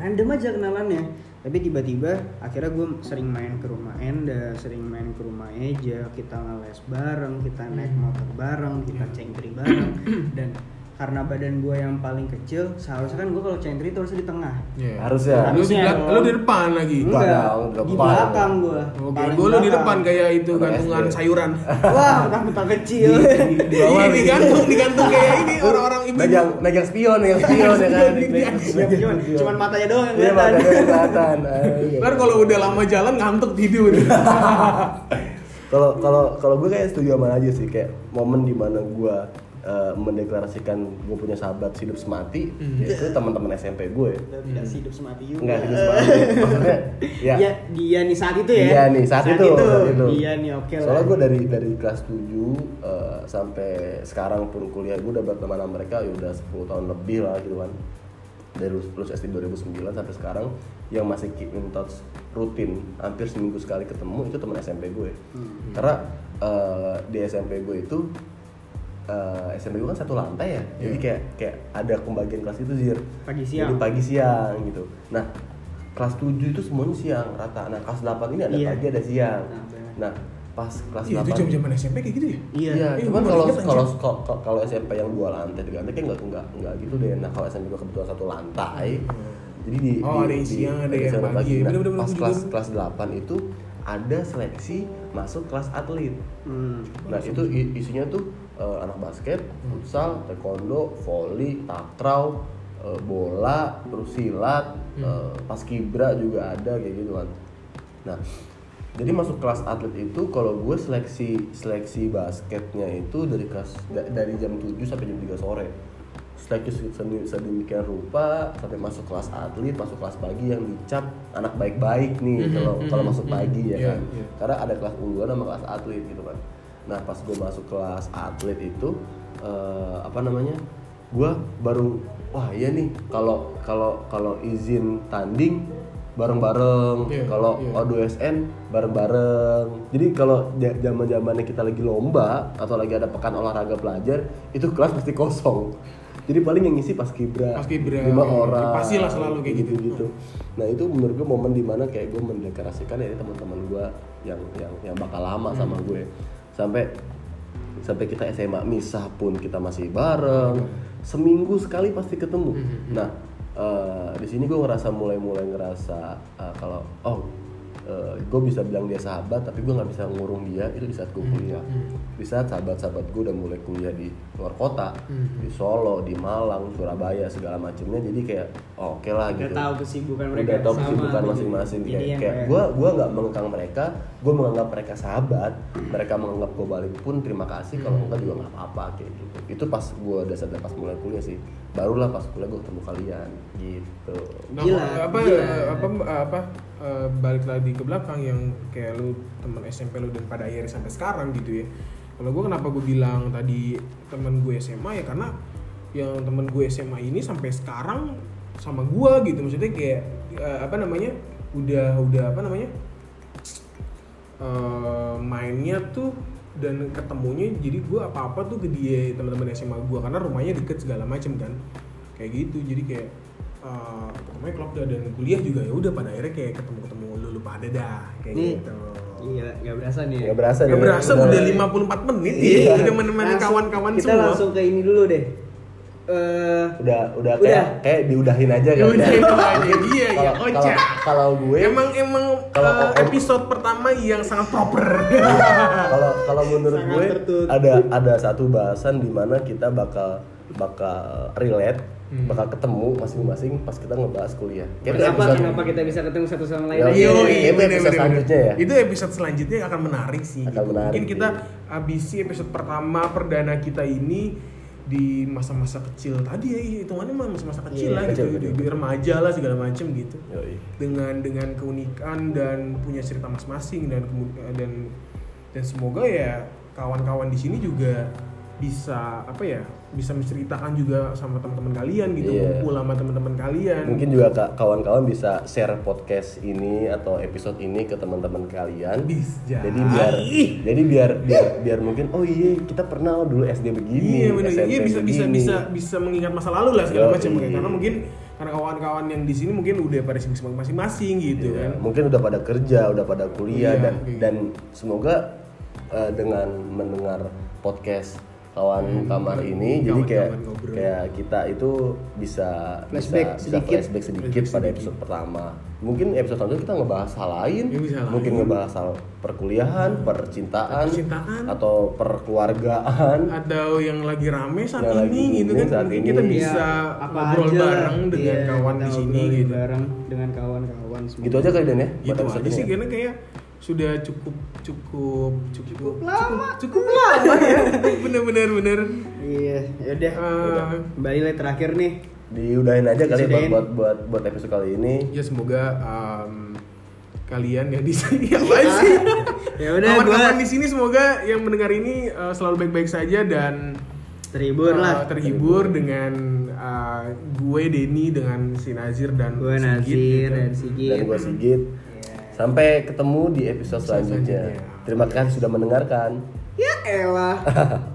B: random aja kenalannya. Tapi tiba-tiba akhirnya gue sering main ke rumah Enda, sering main ke rumah Eja, kita ngeles bareng, kita naik motor bareng, kita
A: Iya.
B: cengkri bareng, dan karena badan gue yang paling kecil seharusnya kan gue kalau cengkri itu harusnya di tengah
A: Iya.
C: Harusnya.
A: Lu di,
B: Harusnya
A: belak-
B: dong.
A: lu di depan lagi.
C: Enggak. dong,
B: di
C: depan.
B: belakang gue
A: Oke, gue Oh, lu di depan kayak itu
C: Anak
A: gantungan
C: SD.
A: sayuran.
B: wah kota kecil
C: Di bawah gitu.
A: Iya,
C: nih.
A: digantung, digantung kayak ini orang-orang ibu.
C: Megang megang spion, megang spion ya kan. Megang
B: Cuman- cuman,
C: spion.
B: cuman matanya doang yang
C: Iya,
B: kelihatan
C: matanya kelihatan. Ah, iya.
A: Ntar kalau udah lama jalan ngantuk tidur. Iya,
C: kalau kalau kalau gue kayak setuju sama aja sih kayak momen dimana gue eh, mendeklarasikan gue punya sahabat hidup semati
A: Hmm.
C: yaitu teman-teman SMP gue
B: Udah tidak hidup semati juga
C: nggak hidup semati maksudnya ya,
A: Iya,
B: Dia- dia nih saat itu ya
C: Iya nih saat, itu, saat itu.
B: dia nih oke lah
C: soalnya gue dari dari kelas 7 eh, sampai sekarang pun kuliah gue udah berteman sama mereka ya udah 10 tahun lebih lah gitu kan dari lulus, lulus SD 2009 sampai sekarang yang masih keep in touch rutin hampir seminggu sekali ketemu itu teman SMP gue
B: Hmm.
C: karena eh, di SMP gue itu eh, SMP gue kan satu lantai ya jadi kayak kayak ada pembagian kelas itu zir
B: Iya. Pagi siang.
C: jadi pagi siang gitu nah kelas 7 itu semuanya siang rata nah kelas 8 ini ada
B: Iya.
C: pagi ada siang
B: Nah, benar.
C: nah pas kelas
A: Iya,
C: 8
A: itu jam-jaman SMP kayak gitu ya.
B: iya
C: Iya,
A: Iya,
C: cuman
A: gua
C: kalau
A: ingat,
C: kalau kalau- kalau SMP yang dua lantai tiga lantai kayak nggak nggak nggak gitu deh. Nah kalau SMP gua kebetulan satu lantai, jadi di
A: Oh,
C: di-
A: ada yang
C: di-
A: siang, ada yang
C: siang
A: pagi.
C: pagi. Nah,
A: Bener-bener,
C: pas
A: bener-bener.
C: kelas kelas delapan itu ada seleksi masuk kelas atlet.
B: Hmm.
C: Nah itu i- isinya tuh eh, anak basket,
A: Hmm.
C: futsal, taekwondo, volley, takraw, eh, bola, terus silat,
A: Hmm.
C: eh, paskibra juga ada kayak gitu kan. Nah jadi masuk kelas atlet itu kalau gue seleksi seleksi basketnya itu dari kelas da- dari jam 7 sampai jam 3 sore seleksi sedemi- sedemikian rupa sampai masuk kelas atlet masuk kelas pagi yang dicap anak baik-baik nih
A: Mhm,
C: kalau kalau
A: mhm,
C: masuk
A: mhm.
C: pagi ya
A: Iya,
C: kan
A: iya.
C: karena ada kelas unggulan sama kelas atlet gitu kan nah pas gue masuk kelas atlet itu eh, apa namanya gue baru wah iya nih kalau kalau kalau izin tanding bareng-bareng.
A: Iya,
C: kalau
A: iya.
C: O2SN bareng-bareng. Jadi kalau ja- zaman-zamannya kita lagi lomba atau lagi ada pekan olahraga pelajar, itu kelas pasti kosong. Jadi paling yang ngisi pas kibra,
A: Paskibra,
C: lima
A: iya.
C: orang.
A: Pastilah selalu kayak gitu.
C: gitu. Nah itu menurut gue momen dimana kayak gue mendeklarasikan ya teman-teman gue yang yang yang bakal lama
A: Hmm.
C: sama gue sampai sampai kita SMA misah pun kita masih bareng
A: Hmm.
C: seminggu sekali pasti ketemu. Nah eh, di sini gue ngerasa mulai-mulai ngerasa eh, kalau oh gue bisa bilang dia sahabat tapi gue nggak bisa ngurung dia itu di saat
A: Hmm.
C: gue kuliah di saat sahabat-sahabat gue udah mulai kuliah di luar kota di Solo di Malang Surabaya segala macemnya jadi kayak oh, oke
B: Udah
C: lah gitu
B: tahu kesibukan mereka
C: udah tahu
B: sama
C: kesibukan
B: gitu.
C: masing-masing
B: Jadi
C: kayak
B: yang
C: kayak
B: kayak-
C: gue gue nggak mengekang mereka gue menganggap mereka sahabat mereka menganggap gue balik pun terima kasih kalau enggak juga nggak apa-apa kayak gitu itu pas gue udah sadar pas mulai kuliah sih barulah pas kuliah gue ketemu kalian gitu
A: Nah,
B: Gila,
A: apa,
B: gila.
A: apa apa eh, balik lagi ke belakang yang kayak lu teman SMP lu dan pada akhirnya sampai sekarang gitu ya. Kalau gue kenapa gue bilang tadi teman gue SMA ya karena yang teman gue SMA ini sampai sekarang sama gue gitu maksudnya kayak eh, apa namanya udah udah apa namanya eh, mainnya tuh dan ketemunya jadi gue apa apa tuh ke dia teman-teman SMA gue karena rumahnya deket segala macem kan kayak gitu jadi kayak eh, ketemunya klub dah dan kuliah juga ya udah pada akhirnya kayak ketemu ketemu lu lu pada dah kayak
B: Nih.
A: gitu
B: Iya, nggak berasa nih. ya.
C: nggak berasa
A: Gak
C: nih.
A: berasa
C: Bener.
A: udah 54 menit ya, udah menemani
B: Iya. Langsung-
A: kawan-kawan
B: kita
A: semua.
B: langsung ke ini dulu deh. Eh,
C: udah udah kayak
B: Udah.
C: kayak diudahin aja
A: Ya
C: kali
A: udah
C: ya.
A: itu aja dia ya
C: Kalau- kalau-
A: kocak.
C: kalau gue
A: Emang emang
C: Kalau
A: eh,
C: kalau-
A: episode pertama yang sangat proper.
C: Nah, kalau kalau menurut
B: Sangat
C: gue
B: tertutup.
C: ada ada satu bahasan di mana kita bakal bakal relate
A: Hmm.
C: bakal ketemu masing-masing pas kita ngebahas kuliah. Kayaknya
B: kenapa
C: episode-
B: kenapa kita bisa ketemu satu sama lain?
C: Ya,
B: lagi?
A: Yoi,
C: iya, iya,
A: bener,
C: episode
A: bener, bener.
C: selanjutnya ya?
A: Itu episode selanjutnya akan menarik sih.
C: Akan
A: gitu.
C: menarik,
A: Mungkin kita
C: iya.
A: habisi episode pertama perdana kita ini di masa-masa kecil tadi ya hitungannya mah masa-masa kecil
C: Iya,
A: lah
C: kecil,
A: gitu,
C: kecil.
A: di- di remaja lah segala macem gitu.
C: Yoi.
A: Dengan dengan keunikan dan punya cerita masing-masing dan kemu- eh, dan dan semoga ya kawan-kawan di sini juga bisa apa ya bisa menceritakan juga sama teman-teman kalian gitu
C: Iya.
A: kumpul sama teman-teman kalian
C: Mungkin juga ka- kawan-kawan bisa share podcast ini atau episode ini ke teman-teman kalian.
A: Bisa.
C: Jadi biar
A: Ih.
C: jadi biar biar biar mungkin oh iya kita pernah oh, dulu SD begini,
A: Iya benar.
C: SMP
A: Iya bisa bisa
C: begini."
A: bisa bisa mengingat masa lalu lah segala
C: Yoi.
A: macam kayak karena mungkin karena kawan-kawan yang di sini mungkin udah pada sibuk-sibuk masing-masing gitu
C: Iya,
A: kan.
C: Mungkin udah pada kerja, udah pada kuliah
A: Iya,
C: dan
A: kayak gitu.
C: dan semoga eh, dengan mendengar podcast kawan kamar ini jadi
A: Hmm, iya. kawan-kawan
C: kayak
A: ngobrol.
C: kayak kita itu bisa
B: Flashback
C: bisa,
B: sedikit.
C: bisa flashback sedikit
A: Flashback
C: pada
A: sedikit.
C: episode pertama. Mungkin episode selanjutnya kita ngebahas hal lain,
A: Iya, bisa hal
C: mungkin
A: lain.
C: ngebahas hal perkuliahan, percintaan,
A: Percintaan.
C: atau perkeluargaan.
A: Atau yang lagi rame saat
C: Yang lagi
A: ini gitu
C: ini
A: kan
C: saat
A: mungkin
C: ini.
A: kita
C: Iya,
A: bisa
B: apa
A: ngobrol
B: aja lah.
A: bareng dengan
B: Iya,
A: kawan
B: kita
A: di sini
B: ngobrolin
A: gitu.
B: bareng dengan kawan-kawan semua.
C: Gitu aja kali Dan ya. buat
A: Gitu
C: episode
A: aja
C: ini
A: sih
C: ya?
A: karena kayak sudah cukup cukup cukup cukup
B: lama.
A: cukup, lama ya bener-bener bener
B: Iya, yaudah.
A: Eh,
B: Kembali lah terakhir nih.
C: Diudahin aja kali ya buat
B: Disudahin.
C: buat buat buat episode kali ini.
A: ya semoga em, kalian yang di sini apa sih
B: Ya udah gua
A: Kawan-kawan di sini semoga yang mendengar ini uh, selalu baik-baik saja dan
B: terhibur
A: uh,
B: lah.
A: terhibur dengan uh, gue Denny dengan si Nazir dan
B: Gue
A: Sigit,
B: Nazir
A: gitu.
B: dan Sigit.
C: dan gue Sigit. Sampai ketemu di episode selanjutnya.
A: selanjutnya.
C: Terima kasih sudah mendengarkan.
B: Ya elah.